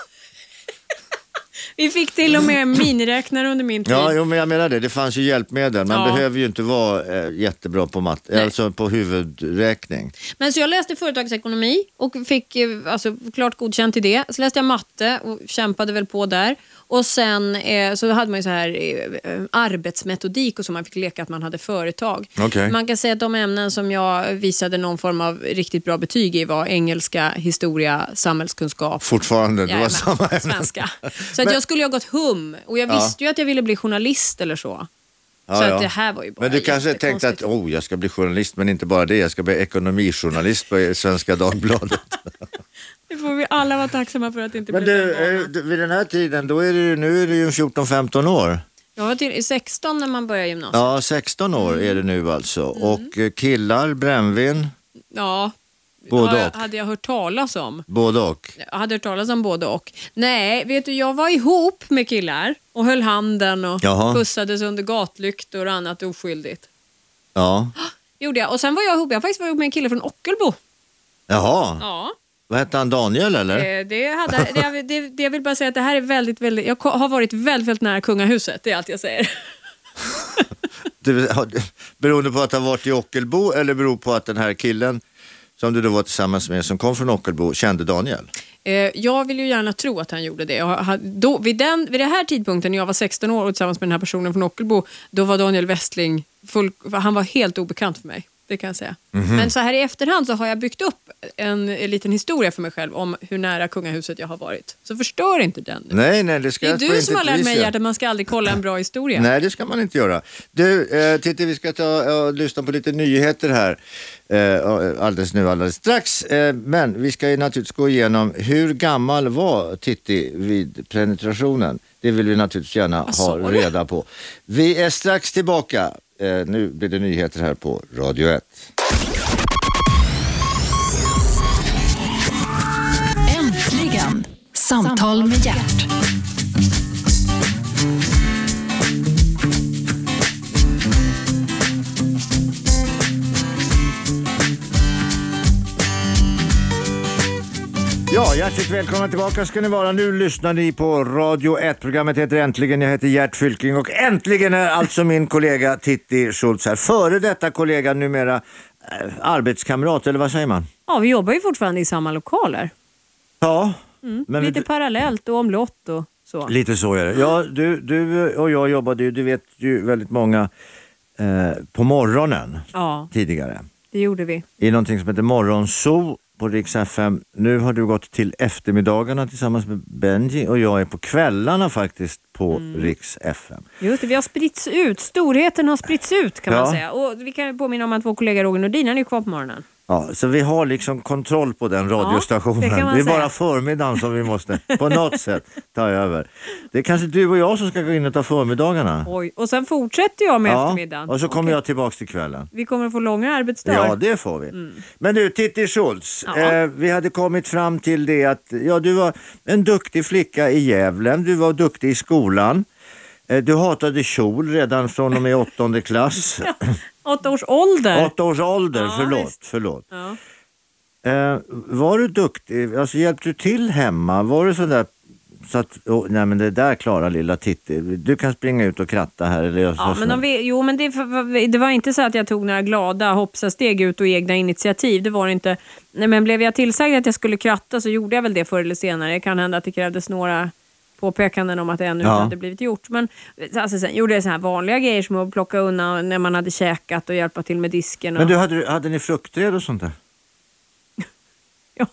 S3: Vi fick till och med miniräknare under min tid.
S2: jo, men jag menar det. Det fanns ju hjälpmedel. Man
S3: Ja.
S2: behöver ju inte vara eh, jättebra på matte,
S3: Nej.
S2: alltså på huvudräkning.
S3: Men så jag läste företagsekonomi och fick eh, alltså, klart godkänt i det. Så läste jag matte och kämpade väl på där. Och sen eh, så hade man ju så här eh, eh, arbetsmetodik och så man fick leka att man hade företag.
S2: Okej.
S3: Man kan säga att de ämnen som jag visade någon form av riktigt bra betyg i var engelska, historia, samhällskunskap.
S2: Fortfarande, det var
S3: Jajamän,
S2: samma ämne.
S3: Svenska. Så att jag skulle ju ha gått hum och jag
S2: Ja.
S3: visste ju att jag ville bli journalist eller så.
S2: Ja,
S3: så
S2: ja.
S3: att det här var ju bara
S2: Men du kanske tänkte att
S3: jättekonstigt.
S2: oh, jag ska bli journalist, men inte bara det. Jag ska bli ekonomijournalist på Svenska Dagbladet.
S3: Det får vi alla vara tacksamma för att det inte
S2: Men
S3: blev
S2: du,
S3: den banan.
S2: eh, du, vid den här tiden, då är det ju, nu är det ju 14-15 år.
S3: Jag var till 16 när man började gymnasiet.
S2: Ja, 16 år är det nu alltså.
S3: Mm.
S2: Och eh, killar, brännvin,
S3: Ja.
S2: Både
S3: Har jag-
S2: och.
S3: Hade jag hört talas om.
S2: både och.
S3: Jag hade hört talas om både och. Nej, vet du, jag var ihop med killar och höll handen och
S2: Jaha.
S3: pussades under gatlyktor och annat oskyldigt.
S2: Ja.
S3: Gjorde jag. Och sen var jag ihop, jag har faktiskt varit ihop med en kille från Ockelbo.
S2: Jaha,
S3: Ja,
S2: vad hette han? Daniel eller?
S3: eh, det, hade, det, det, det jag vill bara säga att det här är väldigt, väldigt, jag ko- har varit väldigt, väldigt nära kungahuset, det är allt jag säger.
S2: Du, har- beroende på att han varit i Ockelbo eller beror på att den här killen som du då var tillsammans med som kom från Ockelbo kände Daniel?
S3: Eh, jag vill ju gärna tro att han gjorde det. Jag hade, då, vid, den, vid den här tidpunkten när jag var 16 år och tillsammans med den här personen från Ockelbo, då var Daniel Westling, full, han var helt obekant för mig. Det kan jag säga.
S2: Mhm.
S3: Men så här i efterhand så har jag byggt upp en, en liten historia för mig själv om hur nära kungahuset jag har varit. Så förstör inte den nu.
S2: Nej, nej, det ska
S3: Det är
S2: jag på
S3: du som
S2: intet
S3: har lärt
S2: vis
S3: mig
S2: göra.
S3: Gerd, att man ska aldrig kolla en bra historia.
S2: Nej, det ska man inte göra. Du, eh, Titti, vi ska ta och lyssna på lite nyheter här eh, alldeles nu, alldeles strax. Eh, men vi ska ju naturligtvis gå igenom hur gammal var Titti vid penetrationen? Det vill vi naturligtvis gärna
S3: Vad
S2: ha
S3: sa du?
S2: reda på. Vi är strax tillbaka. Eh, nu blir det nyheter här på Radio 1.
S1: Äntligen! Samtal med hjärt.
S2: Ja, hjärtligt välkomna tillbaka ska ni vara. Nu lyssnar ni på Radio 1. Programmet heter Äntligen. Jag heter Gert Fylking och äntligen är alltså min kollega Titti Schultz här. Före detta kollega, numera eh, arbetskamrat, eller vad säger man?
S3: Ja, vi jobbar ju fortfarande i samma lokaler.
S2: Ja, men
S3: Lite
S2: lite,
S3: parallellt och omlott och så.
S2: lite så är det. Ja, du, du och jag jobbade ju, du vet ju väldigt många, eh, på morgonen
S3: Ja,
S2: tidigare.
S3: det gjorde vi.
S2: I någonting som heter Morgonzoo på Rix FM. Nu har du gått till eftermiddagarna tillsammans med Benji och jag är på kvällarna faktiskt på
S3: Mm.
S2: Rix FM.
S3: Just det, vi har spritts ut. Storheten har spritts ut kan
S2: Ja.
S3: man säga. Och vi kan ju påminna om att vår kollega Roger Nordin, han är ju kvar på morgonen.
S2: Ja, så vi har liksom kontroll på den radiostationen.
S3: det kan man
S2: det är
S3: säga.
S2: bara förmiddagen som vi måste på något sätt ta över. Det är kanske du och jag som ska gå in och ta förmiddagarna.
S3: Oj. Och sen fortsätter jag med
S2: Ja,
S3: eftermiddagen.
S2: och så kommer jag tillbaks till kvällen.
S3: Vi kommer att få långa arbetsdagar.
S2: Ja, det får vi. Men du, Titti Schultz.
S3: Mm. Ja.
S2: Eh, vi hade kommit fram till det att ja, du var en duktig flicka i Gävle. Du var duktig i skolan. Eh, du hatade kjol redan från och med åttonde klass.
S3: Åtta års ålder.
S2: Åtta års ålder,
S3: Ja,
S2: förlåt.
S3: visst.
S2: förlåt.
S3: Ja.
S2: Eh, var du duktig? Alltså, hjälpte du till hemma? Var du sån där så att, åh, nej men det där klarar lilla Titti, du kan springa ut och kratta här. Eller jag-
S3: Ja, men om vi, jo, men det, det var inte så att jag tog några glada hoppsasteg ut och egna initiativ. Det var det inte. Nej, men blev jag tillsagd att jag skulle kratta så gjorde jag väl det förr eller senare. Det kan hända att det krävdes några påpekanden om att det ännu
S2: Ja.
S3: inte hade blivit gjort. Men alltså, sen gjorde jag så här vanliga grejer som att plocka undan när man hade käkat och hjälpa till med disken. Och,
S2: men du, hade, hade ni fruktträd och sånt där?
S3: ja,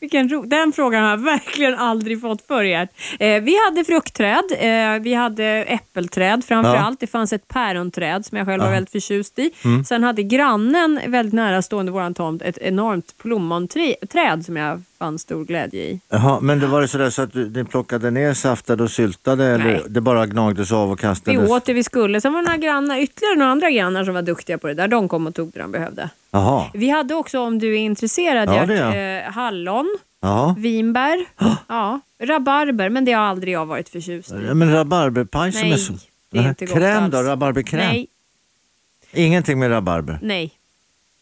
S3: vilken ro, den frågan har jag verkligen aldrig fått förr Gert. eh, Vi hade fruktträd, eh, vi hade äppelträd framför
S2: Ja. Mm.
S3: allt. Det fanns ett päronträd som jag själv var väldigt förtjust i. Sen hade grannen väldigt nära stående våran tomt ett enormt plommonträd som jag fann stor glädje i.
S2: Jaha, men det var det sådär så att du, ni plockade ner, saftade och syltade
S3: Nej.
S2: eller det bara gnagdes av och
S3: Vi
S2: kastades?
S3: åt det vi skulle. Sen var det några grannar, ytterligare några andra grannar som var duktiga på det där. De kom och tog det de behövde.
S2: Jaha,
S3: Vi hade också, om du är intresserad,
S2: Ja,
S3: Gert,
S2: det är
S3: eh, hallon,
S2: jaha.
S3: vinbär, ja, rabarber, men det har aldrig jag varit förtjust i.
S2: Men rabarberpaj som
S3: Nej,
S2: är så...
S3: det är inte gott
S2: Kräm då?
S3: alls.
S2: Rabarberkräm?
S3: Nej,
S2: Ingenting med rabarber?
S3: nej.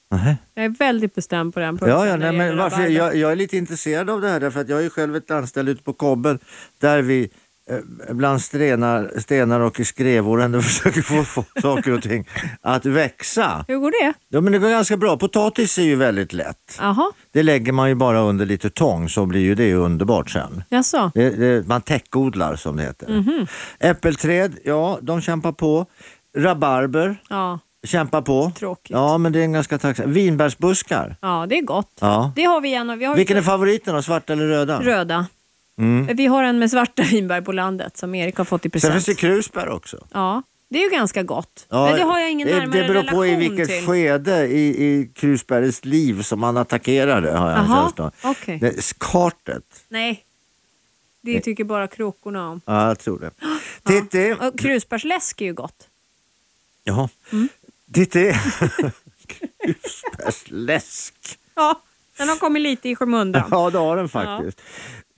S2: Nej.
S3: Jag är väldigt bestämd på den punkten.
S2: Ja, ja,
S3: när
S2: nej,
S3: det
S2: men
S3: gäller
S2: varför,
S3: rabarber.
S2: jag, jag är lite intresserad av det här därför att jag är ju själv ett landställe ute på Kobben där vi eh, bland stenar, stenar och i skrevor ändå försöker få, få saker och ting att växa.
S3: Hur går det?
S2: Ja, men det går ganska bra. Potatis är ju väldigt lätt.
S3: Jaha,
S2: Det lägger man ju bara under lite tång så blir ju det underbart sen.
S3: jaså?
S2: Det, det, man täckodlar som det heter.
S3: Mhm.
S2: Äppelträd, ja de kämpar på. Rabarber
S3: Ja,
S2: kämpar på.
S3: Tråkigt.
S2: Ja men det är en ganska tacksam. Vinbärsbuskar.
S3: ja, det är gott.
S2: Ja.
S3: Det har vi en av. Vi har
S2: Vilken är favoriten då? Svarta eller röda?
S3: Röda.
S2: Mm.
S3: Vi har en med svarta vinbär på landet som Erik har fått i
S2: Sen finns
S3: present.
S2: det krusbär också.
S3: Ja, Det är ju ganska gott.
S2: Ja,
S3: Men det har jag ingen
S2: det,
S3: närmare
S2: det beror på i
S3: relation
S2: vilket
S3: till.
S2: skede i, i Krusbergs liv som han attackerade har jag en
S3: Jaha,
S2: känsla av.
S3: okej.
S2: Det- Skartet.
S3: Nej. Det tycker bara kråkorna om.
S2: Ja, jag tror det. Titti.
S3: Och krusbärsläsk är ju gott.
S2: Jaha.
S3: Mm.
S2: Titti. Krusbärsläsk.
S3: Ja, den har kommit lite i skymundan.
S2: Ja, det har den faktiskt.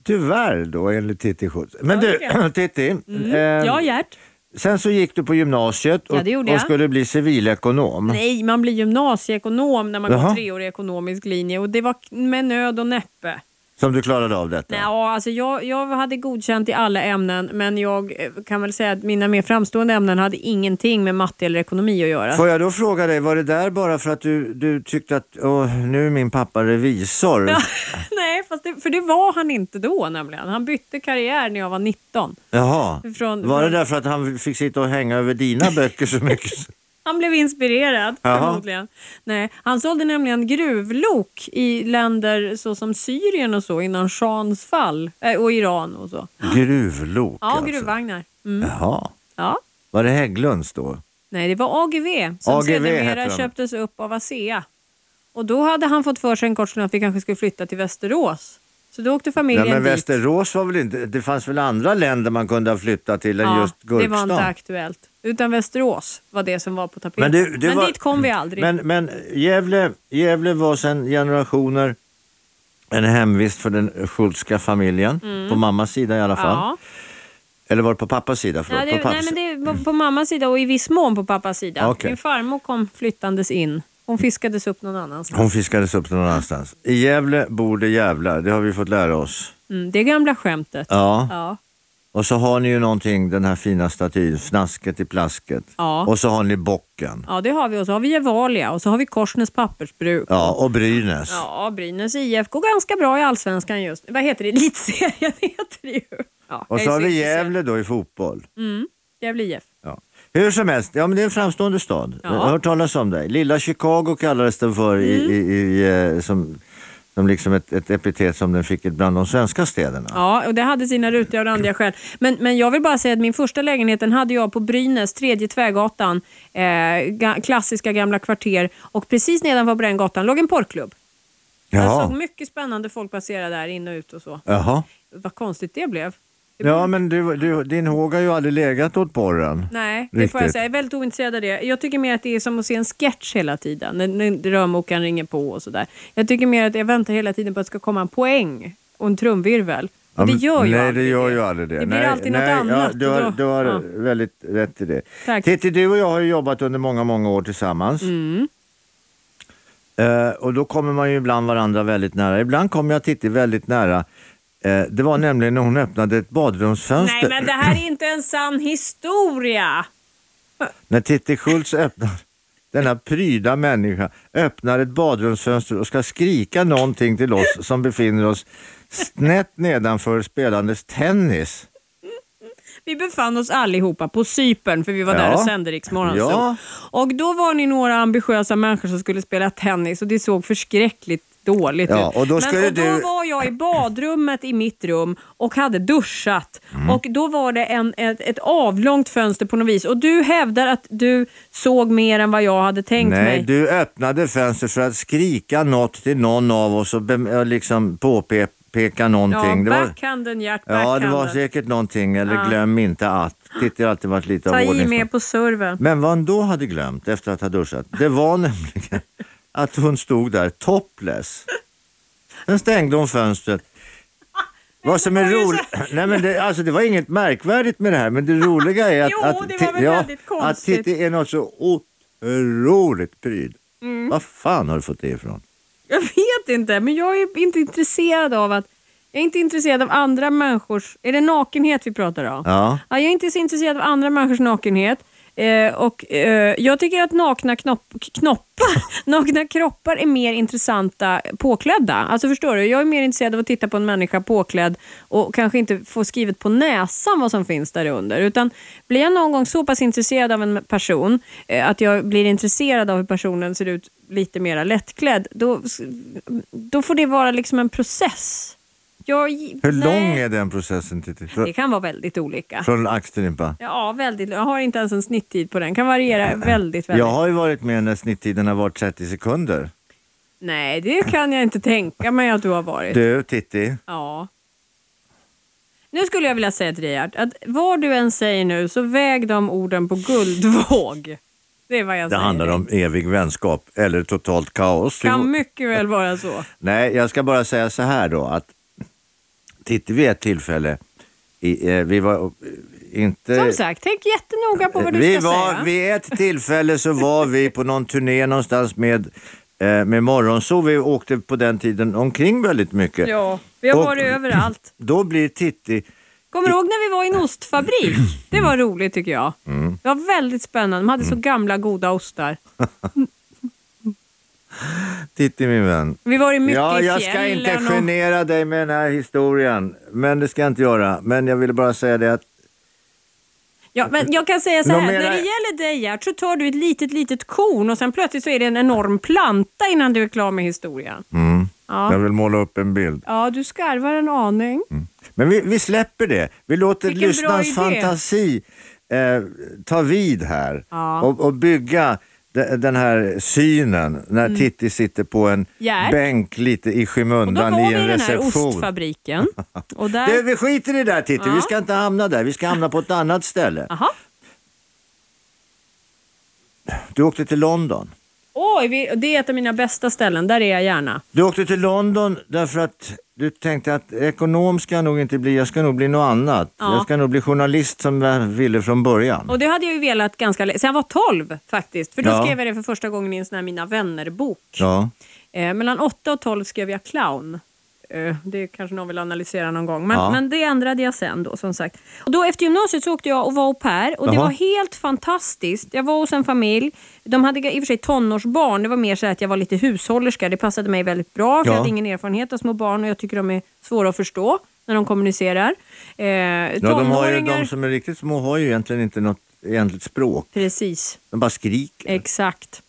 S2: Tyvärr då, enligt Titti Schultz. Men
S3: Ja,
S2: du,
S3: okej.
S2: Titti.
S3: Mm.
S2: eh,
S3: Ja, Gert.
S2: Sen så gick du på gymnasiet och,
S3: Ja, det gjorde
S2: och
S3: jag.
S2: skulle bli civilekonom.
S3: Nej, man blir gymnasieekonom när man
S2: Jaha.
S3: går treårig ekonomisk linje och det var k- med nöd och näppe.
S2: Som du klarade av detta.
S3: Nej, ja, alltså jag, jag hade godkänt i alla ämnen men jag eh, kan väl säga att mina mer framstående ämnen hade ingenting med matte eller ekonomi att göra.
S2: Får jag då fråga dig, var det där bara för att du, du tyckte att åh, nu är min pappa revisor?
S3: Nej, fast det, för det var han inte då nämligen. Han bytte karriär när jag var 19.
S2: Jaha.
S3: Från-
S2: var det
S3: från-
S2: därför att han fick sitta och hänga över dina böcker så mycket?
S3: Han blev inspirerad
S2: Jaha.
S3: förmodligen. Nej, han sålde nämligen gruvlok i länder såsom Syrien och så innan shahens fall eh, och Iran och så.
S2: Gruvlok
S3: Ja,
S2: alltså.
S3: gruvvagnar. Mm.
S2: Jaha.
S3: Ja.
S2: Var det Hägglunds då?
S3: Nej, det var AGV som
S2: AGV hette
S3: sedermera
S2: den.
S3: köptes upp av ASEA. Och då hade han fått för sig en kort stund att vi kanske skulle flytta till Västerås. Så då åkte familjen
S2: Nej, men
S3: dit.
S2: Västerås var väl inte... Det fanns väl andra länder man kunde ha flyttat till än just
S3: det var inte
S2: Gurkstaden?
S3: aktuellt. Utan Västerås var det som var på tapeten.
S2: Men,
S3: Men,
S2: du, du var...
S3: dit kom vi aldrig.
S2: Men, men Gävle, Gävle var sedan generationer en hemvist för den Schultzska familjen. På mammas sida i alla fall.
S3: Mm. ja.
S2: Eller var det på pappas sida? Förlåt,
S3: Ja,
S2: på
S3: det, nej,
S2: pappas.
S3: men det är på, på mammas sida och i viss mån på pappas sida.
S2: Okej.
S3: Min farmor kom flyttandes in. Hon fiskades upp någon annanstans.
S2: Hon fiskades upp någon annanstans. I Gävle bor det jävlar, det har vi fått lära oss.
S3: Mm, det gamla skämtet.
S2: Ja.
S3: Ja.
S2: Och så har ni ju någonting, den här fina statyn, Fnasket i plasket.
S3: Ja.
S2: Och så har ni bocken.
S3: ja, det har vi. Och så har vi Gevalia och så har vi Korsnäs pappersbruk.
S2: Ja, och Brynäs.
S3: Ja, Brynäs IF går ganska bra i allsvenskan just Vad heter det? Elitserien heter det ju. Ja,
S2: och
S3: jag
S2: så
S3: är
S2: har vi
S3: intresserad.
S2: Gävle då i fotboll.
S3: Gävle IF.
S2: Ja. Hur som helst, ja, men det är en framstående stad.
S3: Ja. Mm.
S2: Jag har hört talas om dig. Lilla Chicago kallades den för i, i, i, eh, som, som liksom ett, ett epitet som den fick bland de svenska städerna.
S3: Ja, och det hade sina rutiga och randiga skäl. Men, men jag vill bara säga att min första lägenhet den hade jag på Brynäs, tredje Tvärgatan, eh, ga, klassiska gamla kvarter. Och precis nedanför på den gatan låg en porrklubb. Jag såg
S2: Jaha.
S3: mycket spännande folk passera där, in och ut och så.
S2: Jaha.
S3: Vad konstigt det blev. Det
S2: Ja, men du, du, din håg har ju aldrig legat åt porren.
S3: Nej, det får jag
S2: Riktigt.
S3: säga. Jag är väldigt ointresserad av det. Jag tycker mer att det är som att se en sketch hela tiden. När, när rörmokaren ringer på och sådär. Jag tycker mer att jag väntar hela tiden på att det ska komma en poäng och en trumvirvel.
S2: Ja,
S3: Och det
S2: men-
S3: gör ju
S2: nej,
S3: aldrig
S2: det. gör ju aldrig det.
S3: Det blir
S2: nej,
S3: alltid något
S2: nej,
S3: annat.
S2: Ja, du har,
S3: Då-
S2: du har
S3: ja.
S2: väldigt rätt i det.
S3: Tack.
S2: Titti, du och jag har ju jobbat under många, många år tillsammans.
S3: Mm.
S2: Eh, och då kommer man ju ibland varandra väldigt nära. Ibland kommer jag Titti väldigt nära. Eh, det var nämligen när hon öppnade ett
S3: Nej,
S2: badrumsfönster.
S3: men det här är inte en sann historia.
S2: När Titti Schultz öppnar, denna pryda människa, öppnar ett badrumsfönster och ska skrika någonting till oss som befinner oss snett nedanför spelandes tennis.
S3: Vi befann oss allihopa på Cypern för vi var där
S2: Ja.
S3: och sände Riksmorgon.
S2: Ja.
S3: Och då var ni några ambitiösa människor som skulle spela tennis och det såg förskräckligt dåligt
S2: Ja,
S3: ut.
S2: och då
S3: Men,
S2: skulle
S3: och då
S2: du-
S3: var jag i badrummet i mitt rum och hade duschat
S2: Mm.
S3: och då var det en, ett, ett avlångt fönster på något vis och du hävdar att du såg mer än vad jag hade tänkt
S2: Nej,
S3: mig.
S2: du öppnade fönstret för att skrika något till någon av oss och bem- och liksom påpeka
S3: Ja,
S2: någonting. det var,
S3: backhanden Gert, backhanden.
S2: ja, det var säkert någonting, eller glöm inte att. Titti har alltid varit lite
S3: Ta
S2: av
S3: i
S2: ordningsman.
S3: med på serven.
S2: Men vad hon då hade glömt efter att ha duschat, det var nämligen att hon stod där topless. Sen stängde hon fönstret. Vad som är
S3: var ju
S2: roligt, nej men det, alltså det var inget märkvärdigt med det här men det roliga är att,
S3: Jo,
S2: att,
S3: det
S2: ti-
S3: var väl
S2: ja,
S3: väldigt
S2: att
S3: konstigt.
S2: Titti är något så otroligt pryd.
S3: Mm.
S2: Vad fan har du fått det ifrån?
S3: Jag vet inte, men jag är inte intresserad av att... Jag är inte intresserad av andra människors... Är det nakenhet vi pratar om?
S2: Ja.
S3: jag är inte så intresserad av andra människors nakenhet. Eh, och, eh, jag tycker att nakna, knopp, knoppar, nakna kroppar är mer intressanta påklädda. Alltså förstår du? Jag är mer intresserad av att titta på en människa påklädd och kanske inte få skrivet på näsan vad som finns där under. Utan blir jag någon gång så pass intresserad av en person eh, att jag blir intresserad av hur personen ser ut lite mer lättklädd, då, då får det vara liksom en process. jag, nej.
S2: Hur lång är den processen? Titti? Frå,
S3: Det kan vara väldigt olika.
S2: från ax till limpa?
S3: Ja, väldigt. Jag har inte ens en snitttid på den. kan variera väldigt, väldigt.
S2: Jag har ju varit med när snittiden har varit 30 sekunder.
S3: Nej, det kan jag inte tänka mig att du har varit.
S2: Du Titti,
S3: Ja. Nu skulle jag vilja säga till dig Art, att vad du än säger nu så väg de orden på guldvåg. Det är vad jag
S2: det
S3: säger.
S2: handlar om evig vänskap eller totalt kaos.
S3: kan mycket väl vara så.
S2: Nej, jag ska bara säga så här då att Titti vid ett tillfälle, i, eh, vi var eh, inte...
S3: Som sagt, tänk jättenoga på vad du
S2: vi
S3: ska
S2: var,
S3: säga.
S2: Vid ett tillfälle så var vi på någon turné någonstans med, eh, med Morgonzoo. Vi åkte på den tiden omkring väldigt mycket.
S3: Ja, vi har
S2: Och-
S3: varit överallt.
S2: Då blir Titti,
S3: Kommer du ihåg när vi var i en ostfabrik? Det var roligt tycker jag.
S2: Mm.
S3: Det var väldigt spännande. De hade så gamla goda ostar.
S2: Titti min vän.
S3: Vi var i mycket
S2: ja,
S3: i
S2: jag ska
S3: fjällen
S2: inte genera dig med den här historien. Men det ska jag inte göra. Men jag ville bara säga det att
S3: Ja, men jag kan säga så här,
S2: Någon mera-
S3: när det gäller dig Gert, så tar du ett litet, litet korn och sen plötsligt så är det en enorm planta innan du är klar med historien.
S2: Mm.
S3: Ja.
S2: jag vill måla upp en bild.
S3: Ja, du skarvar en aning.
S2: Mm. Men vi, vi släpper det. Vi låter
S3: Vilken bra
S2: lyssnarens
S3: idé.
S2: fantasi eh, ta vid här
S3: Ja.
S2: och, och bygga de, den här synen när
S3: Mm.
S2: Titti sitter på en
S3: Gärd.
S2: bänk lite i
S3: Och då
S2: skymundan
S3: var
S2: i
S3: vi i
S2: en
S3: den här
S2: reception.
S3: ostfabriken. Och där...
S2: Du, vi skiter i det där Titti,
S3: Ja.
S2: vi ska inte hamna där. Vi ska hamna på ett annat ställe.
S3: Aha.
S2: Du åkte till London.
S3: Oj, vi... det är ett av mina bästa ställen. Där är jag gärna.
S2: Du åkte till London därför att du tänkte att ekonom ska jag nog inte bli, jag ska nog bli något annat.
S3: Ja.
S2: Jag ska nog bli journalist som jag ville från början.
S3: Och det hade jag ju velat ganska länge. Sen jag var 12 faktiskt. För då
S2: Ja.
S3: skrev jag det för första gången i en sån här Mina vänner-bok.
S2: Ja.
S3: Eh, mellan 8 och 12 skrev jag clown. Eh, det kanske någon vill analysera någon gång. Men,
S2: Ja.
S3: men det ändrade jag sen då som sagt. Och då efter gymnasiet så åkte jag och var au pair och det
S2: Jaha.
S3: var helt fantastiskt. Jag var hos en familj. De hade i och för sig tonårsbarn. Det var mer så här att jag var lite hushållerska. Det passade mig väldigt bra för
S2: Ja.
S3: jag hade ingen erfarenhet av små barn och jag tycker de är svåra att förstå när de kommunicerar. Eh,
S2: Ja, de, har ju,
S3: tonåringar-
S2: de som är riktigt små har ju egentligen inte något egentligt språk.
S3: Precis.
S2: De bara skriker.
S3: Exakt.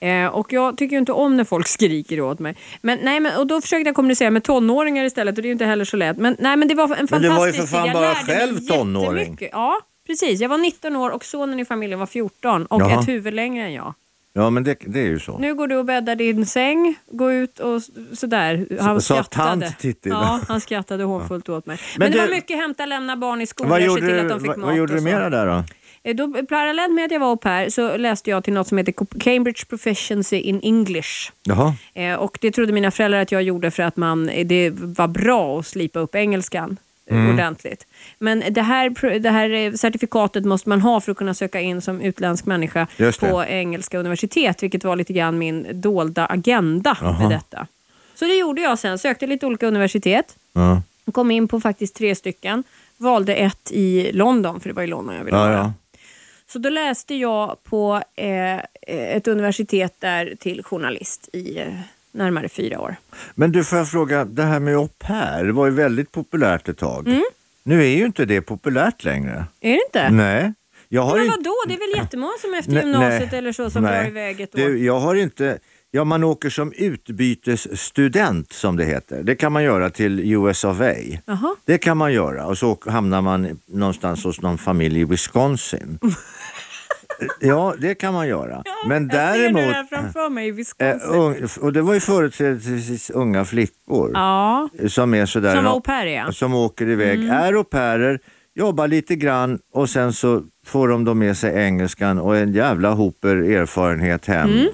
S3: Eh, och jag tycker ju inte om när folk skriker åt mig. Men, nej, men, och då försökte jag kommunicera med tonåringar istället och det är ju inte heller så lätt. Men, nej, men det var en fantastisk
S2: Men du var ju för
S3: tid.
S2: fan
S3: Jag
S2: bara
S3: lärde mig
S2: själv tonåring.
S3: jättemycket. Ja, precis. Jag var 19 år och sonen i familjen var 14 och
S2: Jaha.
S3: ett huvud längre än jag.
S2: Ja, men det, det är ju så.
S3: Nu går du och bäddar din säng, gå ut och s- sådär. Han
S2: Sa
S3: skrattade.
S2: tant Titti.
S3: Ja, han skrattade hånfullt åt mig. Men,
S2: Men
S3: det
S2: du-
S3: var mycket hämta, lämna barn i skolan,
S2: vad
S3: se
S2: gjorde,
S3: till
S2: du,
S3: att de fick
S2: vad,
S3: mat
S2: vad gjorde
S3: och
S2: du
S3: så.
S2: mera där då?
S3: Eh, Då, parallellt med att jag var au pair så läste jag till något som heter Cambridge Proficiency in English.
S2: Jaha.
S3: Eh, och det trodde mina föräldrar att jag gjorde för att man, eh, det var bra att slipa upp engelskan eh,
S2: Mm.
S3: ordentligt. Men det här, pr- det här eh, certifikatet måste man ha för att kunna söka in som utländsk människa
S2: Just det.
S3: på engelska universitet, vilket var lite grann min dolda agenda
S2: Jaha.
S3: med detta. Så det gjorde jag sen, sökte lite olika universitet.
S2: Ja.
S3: Kom in på faktiskt tre stycken. Valde ett i London, för det var i London jag ville
S2: Ja,
S3: vara.
S2: ja.
S3: Så då läste jag på eh, ett universitet där till journalist i eh, närmare fyra år.
S2: Men du, får jag fråga, det här med au pair det var ju väldigt populärt ett tag.
S3: Mm.
S2: Nu är ju inte det populärt längre.
S3: Är det inte?
S2: Nej. Jag har
S3: Men
S2: inte-
S3: vadå, det är väl jättemånga som efter
S2: Nej,
S3: gymnasiet
S2: nej.
S3: eller så som
S2: Nej.
S3: drar iväg ett år.
S2: Du, jag har inte... Ja, man åker som utbytesstudent som det heter. Det kan man göra till US of A.
S3: Jaha.
S2: Det kan man göra och så hamnar man någonstans hos någon familj i Wisconsin. ja, det kan man göra. Men
S3: Jag ser
S2: däremot...
S3: det här framför mig i Wisconsin.
S2: eh, ung- Och det var ju företrädesvis unga flickor
S3: ja,
S2: som är sådär...
S3: som var au pair ja. Mm.
S2: Som åker iväg, är au pairer, jobbar lite grann och sen så får de då med sig engelskan och en jävla hoper erfarenhet hem.
S3: Mm.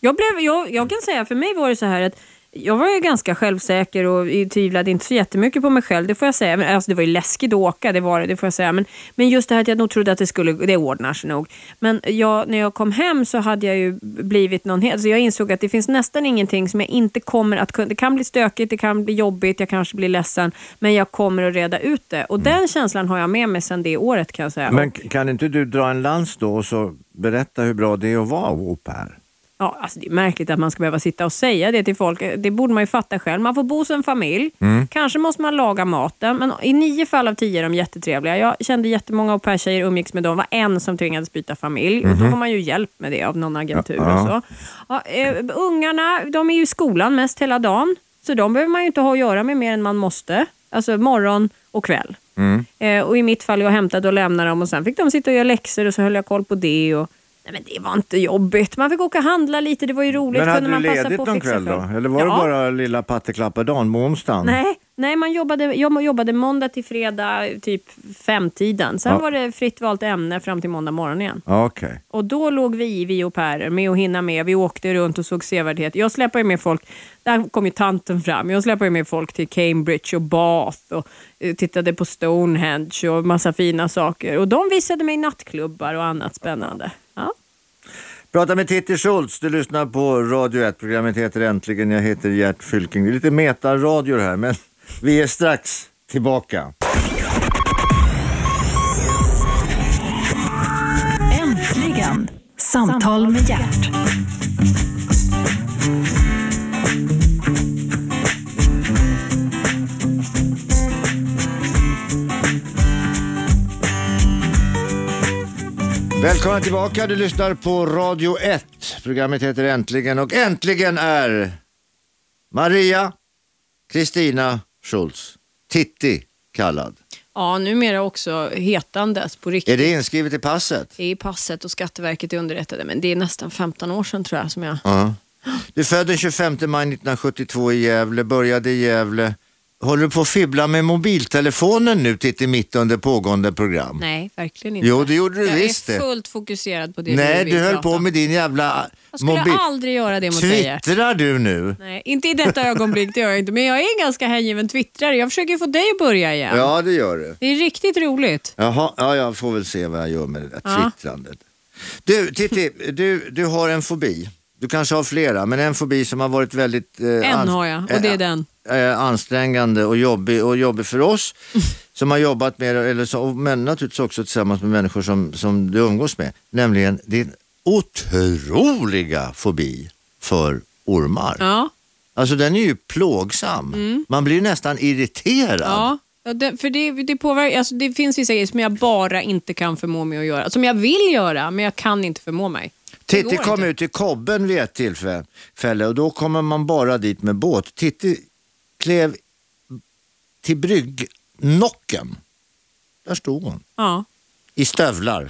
S3: Jag, blev, jag, jag kan säga, för mig var det så här att jag var ju ganska självsäker och tvivlade inte så jättemycket på mig själv, det får jag säga. Men, alltså, det var ju läskigt att åka, det var det, det får jag säga. Men, men just det här att jag nog trodde att det skulle, det ordnar sig nog. Men jag, när jag kom hem så hade jag ju blivit någon helt, så jag insåg att det finns nästan ingenting som jag inte kommer att kunna, det kan bli stökigt, det kan bli jobbigt, jag kanske blir ledsen, men jag kommer att reda ut det. Och den känslan har jag med mig sedan det året kan jag säga.
S2: Men k- kan inte du dra en lans då och så berätta hur bra det är att vara au pair?
S3: Ja, alltså det är märkligt att man ska behöva sitta och säga det till folk. Det borde man ju fatta själv. Man får bo som familj.
S2: Mm.
S3: Kanske måste man laga maten, men i nio fall av tio är de jättetrevliga. Jag kände jättemånga au pair-tjejer umgicks med dem. Det var en som tvingades byta familj. Och då får man ju hjälp med det av någon agentur
S2: Mhm. Ja,
S3: och så. Ja, eh, ungarna, de är ju i skolan mest hela dagen. Så de behöver man ju inte ha att göra med mer än man måste. Alltså morgon och kväll.
S2: Mm.
S3: Eh, och i mitt fall, jag hämtade och lämnade dem och sen fick de sitta och göra läxor och så höll jag koll på det. Och... Nej men det var inte jobbigt. Man fick åka och handla lite, det var ju roligt.
S2: Men hade
S3: Kunde man
S2: du
S3: passa
S2: ledigt
S3: på att
S2: någon
S3: fixa
S2: kväll då?
S3: själv.
S2: Eller var
S3: ja.
S2: det bara lilla patteklappardagen, onsdagen?
S3: Nej, nej man jobbade, jag jobbade måndag till fredag, typ femtiden. Sen
S2: Ja.
S3: var det fritt valt ämne fram till måndag morgon igen.
S2: Ja, Okej.
S3: Och då låg vi, vi och Per, med att hinna med. Vi åkte runt och såg sevärdhet. Jag släpade ju med folk, där kom ju tanten fram, jag släpade ju med folk till Cambridge och Bath och eh, tittade på Stonehenge och massa fina saker. Och de visade mig nattklubbar och annat spännande. Ja.
S2: Prata med Titti Schultz, du lyssnar på Radio 1. Programmet heter Äntligen, jag heter Gert Fylking. Det är lite metaradio det här, men vi är strax tillbaka.
S1: Äntligen! Samtal med hjärt.
S2: Välkomna tillbaka, du lyssnar på Radio 1. Programmet heter Äntligen och äntligen är Maria Kristina Schultz, Titti kallad.
S3: ja, numera också hetandes på riktigt.
S2: Är det inskrivet i passet?
S3: Det är passet och Skatteverket är underrättade, men det är nästan 15 år sedan tror jag som jag...
S2: Ja. Du är född den 25 maj 1972 i Gävle, började i Gävle. Håller du på att fibbla med mobiltelefonen nu Titti mitt under pågående program?
S3: Nej, verkligen inte.
S2: Jo, det gjorde du visst
S3: Jag är
S2: det.
S3: fullt fokuserad på det
S2: Nej,
S3: vill
S2: du höll
S3: prata
S2: på
S3: om.
S2: med din jävla
S3: Jag skulle
S2: mobil.
S3: aldrig göra det mot dig. Gert.
S2: Twittrar du nu?
S3: Nej, inte i detta ögonblick, det gör jag inte. Men jag är en ganska hängiven twittrare. Jag försöker få dig att börja igen.
S2: Ja, det gör du.
S3: Det är riktigt roligt.
S2: Jaha, ja, jag får väl se vad jag gör med det där
S3: Ja.
S2: twittrandet. Du, Titti, du, du har en fobi. Du kanske har flera, men en fobi som har varit väldigt... eh, ans-
S3: har jag, och det är
S2: eh,
S3: den.
S2: eh, ansträngande och jobbig, och jobbig för oss som har jobbat med det, eller så, och men naturligtvis också tillsammans med människor som, som du umgås med. Nämligen din otroliga fobi för ormar.
S3: Ja, Mm.
S2: Alltså den är ju plågsam. Man blir ju nästan irriterad.
S3: ja. ja det, för det, det, påverkar, alltså det finns vissa grejer som jag bara inte kan förmå mig att göra. Som jag vill göra, men jag kan inte förmå mig. Det
S2: Titti
S3: går
S2: kom
S3: inte.
S2: ut i kobben vid ett tillfälle och då kommer man bara dit med båt. Titti klev till bryggnocken. Där stod hon.
S3: Ja.
S2: I stövlar.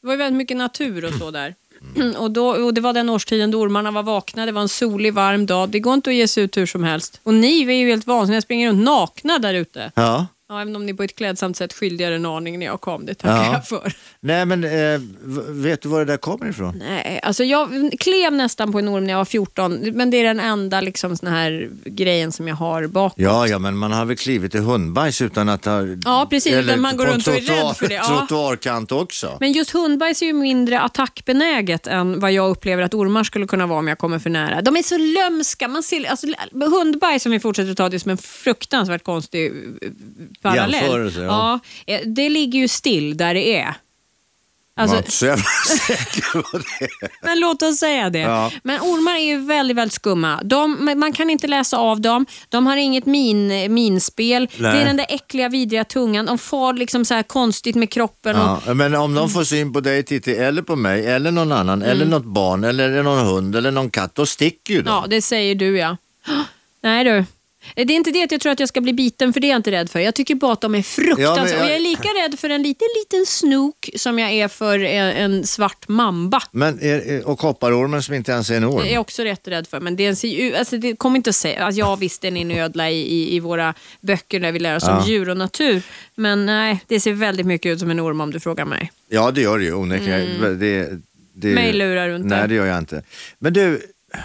S3: Det var ju väldigt mycket natur och så där.
S2: Mm.
S3: Och, då, och Det var den årstiden då ormarna var vakna, det var en solig varm dag. Det går inte att ge sig ut hur som helst. Och ni är ju helt vansinniga, springer runt nakna där ute.
S2: Ja.
S3: Ja, även om ni på ett klädsamt sätt skyldiga er en aning när jag kom, det tackar
S2: Ja.
S3: jag för.
S2: Nej men eh, v- vet du var det där kommer ifrån?
S3: Nej, alltså jag klev nästan på en orm när jag var 14, men det är den enda liksom, sån här grejen som jag har bak.
S2: Ja, ja men man har väl klivit i hundbajs utan att ha...
S3: Ja, precis,
S2: eller
S3: utan man går
S2: på
S3: runt och är
S2: trottoar-
S3: rädd för det, ja.
S2: Trottoarkant också.
S3: Men just hundbajs är ju mindre attackbenäget än vad jag upplever att ormar skulle kunna vara om jag kommer för nära. De är så lömska. Man ser, alltså, hundbajs, som vi fortsätter att ta det som en fruktansvärt konstig eh, parallell.
S2: Jämförelse, ja.
S3: Ja, eh, det ligger ju still där det är. Alltså,
S2: Man är inte så jävla säker på det.
S3: Men låt oss säga det.
S2: Ja.
S3: Men ormar är ju väldigt, väldigt skumma. De, men man kan inte läsa av dem. De har inget min, minspel.
S2: Nej.
S3: Det är den där äckliga, vidriga tungan. De far liksom så här konstigt med kroppen. Och,
S2: Ja, men om de får syn på dig Titti, eller på mig, eller någon annan, eller något barn, eller någon hund, eller någon katt, då sticker ju de.
S3: Mm. ja, det säger du ja. Nej du. Det är inte det att jag tror att jag ska bli biten, för det är jag inte rädd för. Jag tycker bara att de är
S2: Ja,
S3: fruktansvärda.
S2: men jag-
S3: Och jag är lika rädd för en liten, liten snok som jag är för en, en svart mamba.
S2: Men, är- är- och kopparormen som inte ens är en orm.
S3: Det är jag också rätt rädd för, men det, är en, ser ju- alltså det kommer inte att säga. Alltså jag visst, den är en ödla i, i, i våra böcker där vi lär oss om djur och natur. Men nej, det ser väldigt mycket ut som en orm om du frågar mig.
S2: Ja, det gör det ju onekligen. Det, det,
S3: Mm. Mig lurar du inte.
S2: Nej, det gör jag inte. Men du,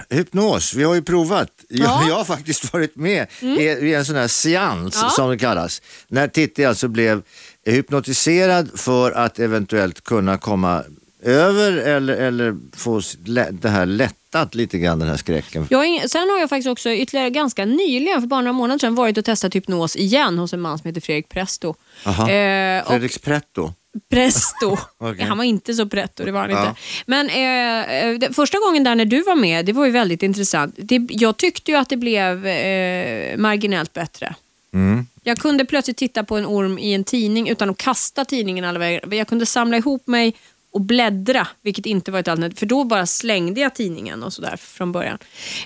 S2: hypnos, vi har ju provat. Jag,
S3: Ja. Mm.
S2: jag har faktiskt varit med i, i en sån här seans
S3: Ja.
S2: som det kallas. När Titti alltså blev hypnotiserad för att eventuellt kunna komma över eller, eller få s- lä- det här lättat lite grann, den här skräcken.
S3: Jag har ingen, sen har jag faktiskt också ytterligare ganska nyligen, för bara några månader sedan, varit och testat hypnos igen hos en man som heter Fredrik Presto.
S2: Aha.
S3: Eh, och
S2: Fredriks pretto.
S3: Presto.
S2: Okej.
S3: Han var inte så pretto, det var han
S2: Ja.
S3: inte. Men eh, eh, det- första gången där när du var med, det var ju väldigt intressant. Det, jag tyckte ju att det blev eh, marginellt bättre.
S2: Mm.
S3: Jag kunde plötsligt titta på en orm i en tidning utan att kasta tidningen alla vägar. Jag kunde samla ihop mig och bläddra, vilket inte var ett alternativ. För då bara slängde jag tidningen och sådär från början.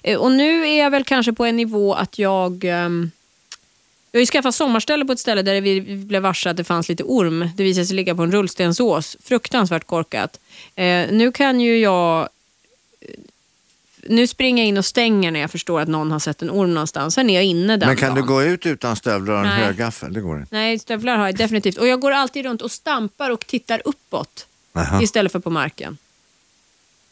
S3: Eh, Och nu är jag väl kanske på en nivå att jag ehm, jag har ju skaffat sommarställe på ett ställe där vi blev varse att det fanns lite orm. Det visade sig ligga på en rullstensås. Fruktansvärt korkat. Eh, nu kan ju jag... eh, Nu springer jag in och stänger när jag förstår att någon har sett en orm någonstans. Sen är jag inne den
S2: Men kan
S3: dagen.
S2: du gå ut utan stövlar och en
S3: Nej.
S2: högaffel? Det går inte.
S3: Nej, stövlar har jag definitivt. Och jag går alltid runt och stampar och tittar uppåt
S2: Aha.
S3: istället för på marken.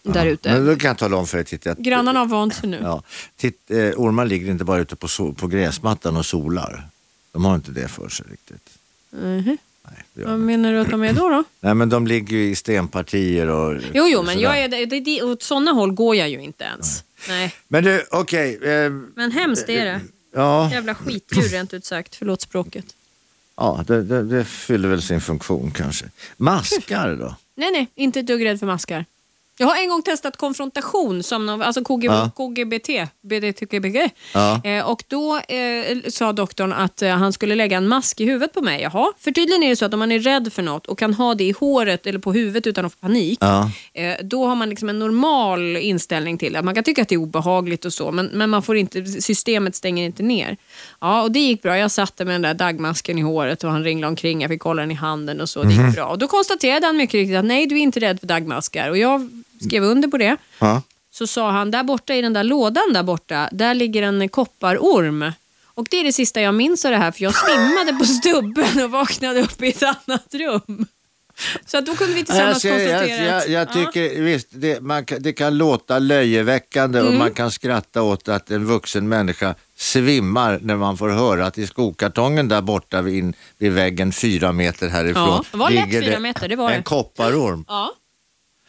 S3: Där
S2: Men
S3: ute.
S2: då kan jag tala om för dig, titta. att-
S3: Grannarna har vant sig nu.
S2: Ja. Titt, eh, ormar ligger inte bara ute på, so- på gräsmattan och solar. De har inte det för sig riktigt.
S3: Mhm.
S2: Nej, det gör de
S3: Vad
S2: inte.
S3: menar du att de är då? då?
S2: Nej men de ligger ju i stenpartier och
S3: Jo, jo, men
S2: sådär.
S3: jag är, det, det- det, åt sådana håll går jag ju inte ens. Nej.
S2: Men du, okej. eh,
S3: Men hemskt är det.
S2: ja,
S3: Jävla skitdjur rent ut sagt. Förlåt språket.
S2: ja det, det, det fyller väl sin funktion kanske. Maskar då?
S3: Nej, nej, inte ett dugg rädd för maskar. Jag har en gång testat konfrontation, som någon, alltså KG,
S2: Ja.
S3: KGBT, BDTKBG.
S2: Ja.
S3: Eh, och då eh, sa doktorn att eh, han skulle lägga en mask i huvudet på mig. Jaha, för tydligen är det så att om man är rädd för något och kan ha det i håret eller på huvudet utan att få panik,
S2: Ja.
S3: eh, då har man liksom en normal inställning till det. Man kan tycka att det är obehagligt och så, men, men man får inte, systemet stänger inte ner. Ja, och det gick bra. Jag satte med den där dagmasken i håret och han ringlade omkring. Jag fick hålla den i handen och så. Det
S2: Mhm.
S3: gick bra. Och då konstaterade han mycket riktigt att nej, du är inte rädd för dagmaskar. Och jag skrev
S2: Mm.
S3: under på det.
S2: Ja.
S3: Så sa han, där borta i den där lådan där borta, där ligger en kopparorm. Och det är det sista jag minns av det här, för jag svimmade på stubben och vaknade upp i ett annat rum. Så att då kunde vi tillsammans
S2: jag,
S3: konstatera
S2: jag, jag, jag
S3: att-
S2: tycker visst, det, man, kan- det kan låta löjeväckande
S3: Mm.
S2: och man kan skratta åt att en vuxen människa svimmar när man får höra att i skokartongen där borta vid, in, vid väggen fyra meter härifrån
S3: Ja, det var lätt
S2: ligger
S3: fyra meter, det var
S2: en
S3: det.
S2: kopparorm.
S3: Ja.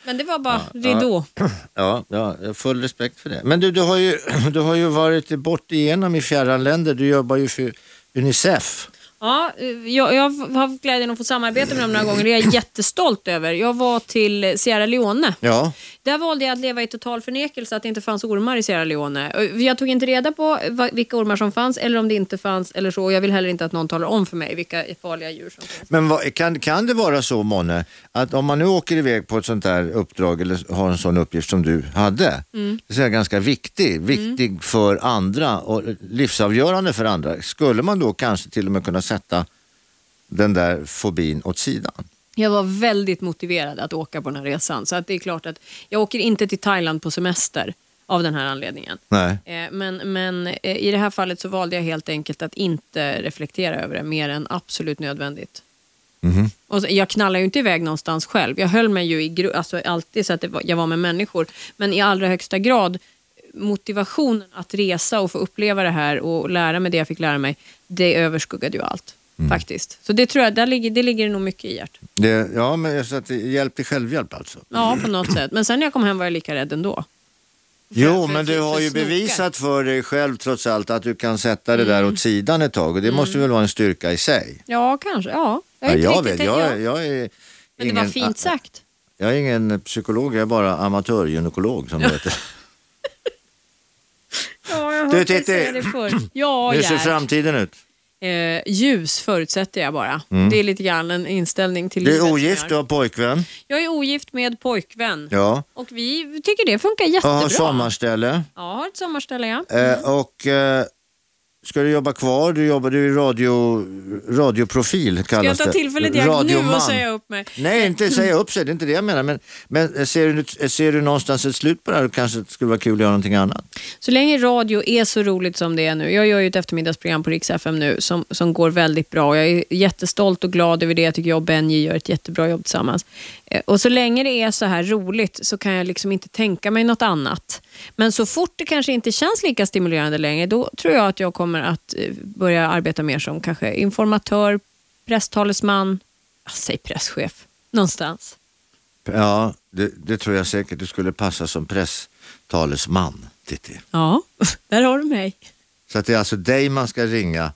S3: Men det var bara ridå.
S2: Ja, ja, jag har full respekt för det. Men du, du har ju, du har ju varit bort igenom i fjärran länder. Du jobbar ju för Unicef.
S3: Ja, eh, jag, jag har haft glädjen att få samarbeta med dem några gånger. Det är jag jättestolt över. Jag var till Sierra Leone.
S2: Ja.
S3: Där valde jag att leva i total förnekelse att det inte fanns ormar i Sierra Leone. Och Jag tog inte reda på va- vilka ormar som fanns eller om det inte fanns eller så. Och Jag vill heller inte att någon talar om för mig vilka farliga djur som finns.
S2: Men vad, kan, kan det vara så, Monne, att om man nu åker iväg på ett sånt där uppdrag eller har en sån uppgift som du hade,
S3: Mm.
S2: det är ganska viktig, viktig för andra och livsavgörande för andra, skulle man då kanske till och med kunna sätta den där fobin åt sidan?
S3: Jag var väldigt motiverad att åka på den här resan. Så att det är klart att jag åker inte till Thailand på semester av den här anledningen.
S2: Nej.
S3: Eh, Men, men eh, i det här fallet så valde jag helt enkelt att inte reflektera över det mer än absolut nödvändigt.
S2: Mhm.
S3: Och så, jag knallade ju inte iväg någonstans själv. Jag höll mig ju i gru- alltså alltid så att det var, jag var med människor. Men i allra högsta grad motivationen att resa och få uppleva det här och lära mig det jag fick lära mig, det överskuggade ju allt.
S2: Mm.
S3: Faktiskt. Så det tror jag, där ligger, det ligger nog mycket i hjärtat.
S2: Det, ja, men så att det hjälp till självhjälp alltså.
S3: Ja, på något sätt. Men sen när jag kom hem var jag lika rädd ändå.
S2: Jo,
S3: för-
S2: men
S3: för-
S2: du
S3: för
S2: har ju
S3: snokar.
S2: bevisat för dig själv trots allt att du kan sätta det
S3: Mm.
S2: där åt sidan ett tag och det måste väl vara en styrka i sig.
S3: Ja, kanske. Mm. Ja, jag
S2: Ja,
S3: är inte
S2: jag
S3: riktigt
S2: vet,
S3: tänkt- ja.
S2: jag, jag är
S3: Men det
S2: ingen,
S3: var fint sagt.
S2: Jag är ingen psykolog, jag är bara amatörgynekolog som det heter.
S3: Ja, jag har
S2: Du,
S3: hört dig
S2: Titti.
S3: säga det förr. Ja,
S2: Hur ser
S3: Gerd.
S2: framtiden ut?
S3: Eh, ljus förutsätter jag bara. Det är lite grann en inställning till
S2: Mm.
S3: livet
S2: Du är
S3: som
S2: ogift,
S3: jag
S2: du
S3: har.
S2: har pojkvän.
S3: Jag är ogift med pojkvän.
S2: Ja.
S3: Och vi tycker det funkar
S2: Jag
S3: jättebra. Mm.
S2: har sommarställe.
S3: Ja, har ett sommarställe ja.
S2: Eh, och eh, ska du jobba kvar? Du jobbar du är radio, radioprofil
S3: Ska jag
S2: kallas det.
S3: ta tillfället i akt nu och
S2: Radioman.
S3: säga upp mig?
S2: Nej, inte säga upp sig, det är inte det jag menar. Men, men ser, du, ser du någonstans ett slut på det här och kanske det skulle vara kul att göra någonting annat?
S3: Så länge radio är så roligt som det är nu. Jag gör ju ett eftermiddagsprogram på Rix FM nu som, som går väldigt bra. Jag är jättestolt och glad över det. Jag tycker jag och Benji gör ett jättebra jobb tillsammans. Eh, Och så länge det är så här roligt så kan jag liksom inte tänka mig något annat. Men så fort det kanske inte känns lika stimulerande längre, då tror jag att jag kommer att eh, börja arbeta mer som kanske informatör, presstalesman, ah, säg presschef, någonstans.
S2: Ja, det, det tror jag säkert. Du skulle passa som presstalesman, Titti.
S3: Ja, där har du mig.
S2: Så att det är alltså dig man ska ringa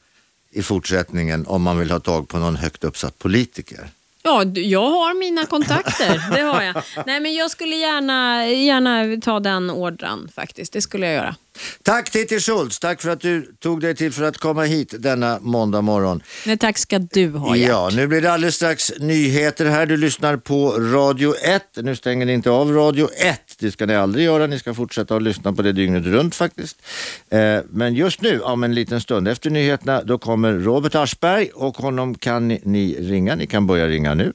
S2: i fortsättningen om man vill ha tag på någon högt uppsatt politiker.
S3: Ja, d- jag har mina kontakter. Det har jag. Nej, men jag skulle gärna, gärna ta den ordran faktiskt. Det skulle jag göra.
S2: Tack Titti Schultz, tack för att du tog dig tid för att komma hit denna måndag morgon.
S3: Nej, tack ska du ha Gert.
S2: Ja, nu blir det alldeles strax nyheter här. Du lyssnar på Radio 1. Nu stänger ni inte av Radio 1. Det ska ni aldrig göra. Ni ska fortsätta att lyssna på det dygnet runt faktiskt. Eh, men just nu, om en liten stund efter nyheterna, då kommer Robert Aschberg och honom kan ni, ni ringa. Ni kan börja ringa nu.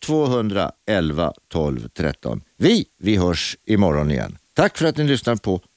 S2: 0211 12 13. Vi, vi hörs imorgon igen. Tack för att ni lyssnar på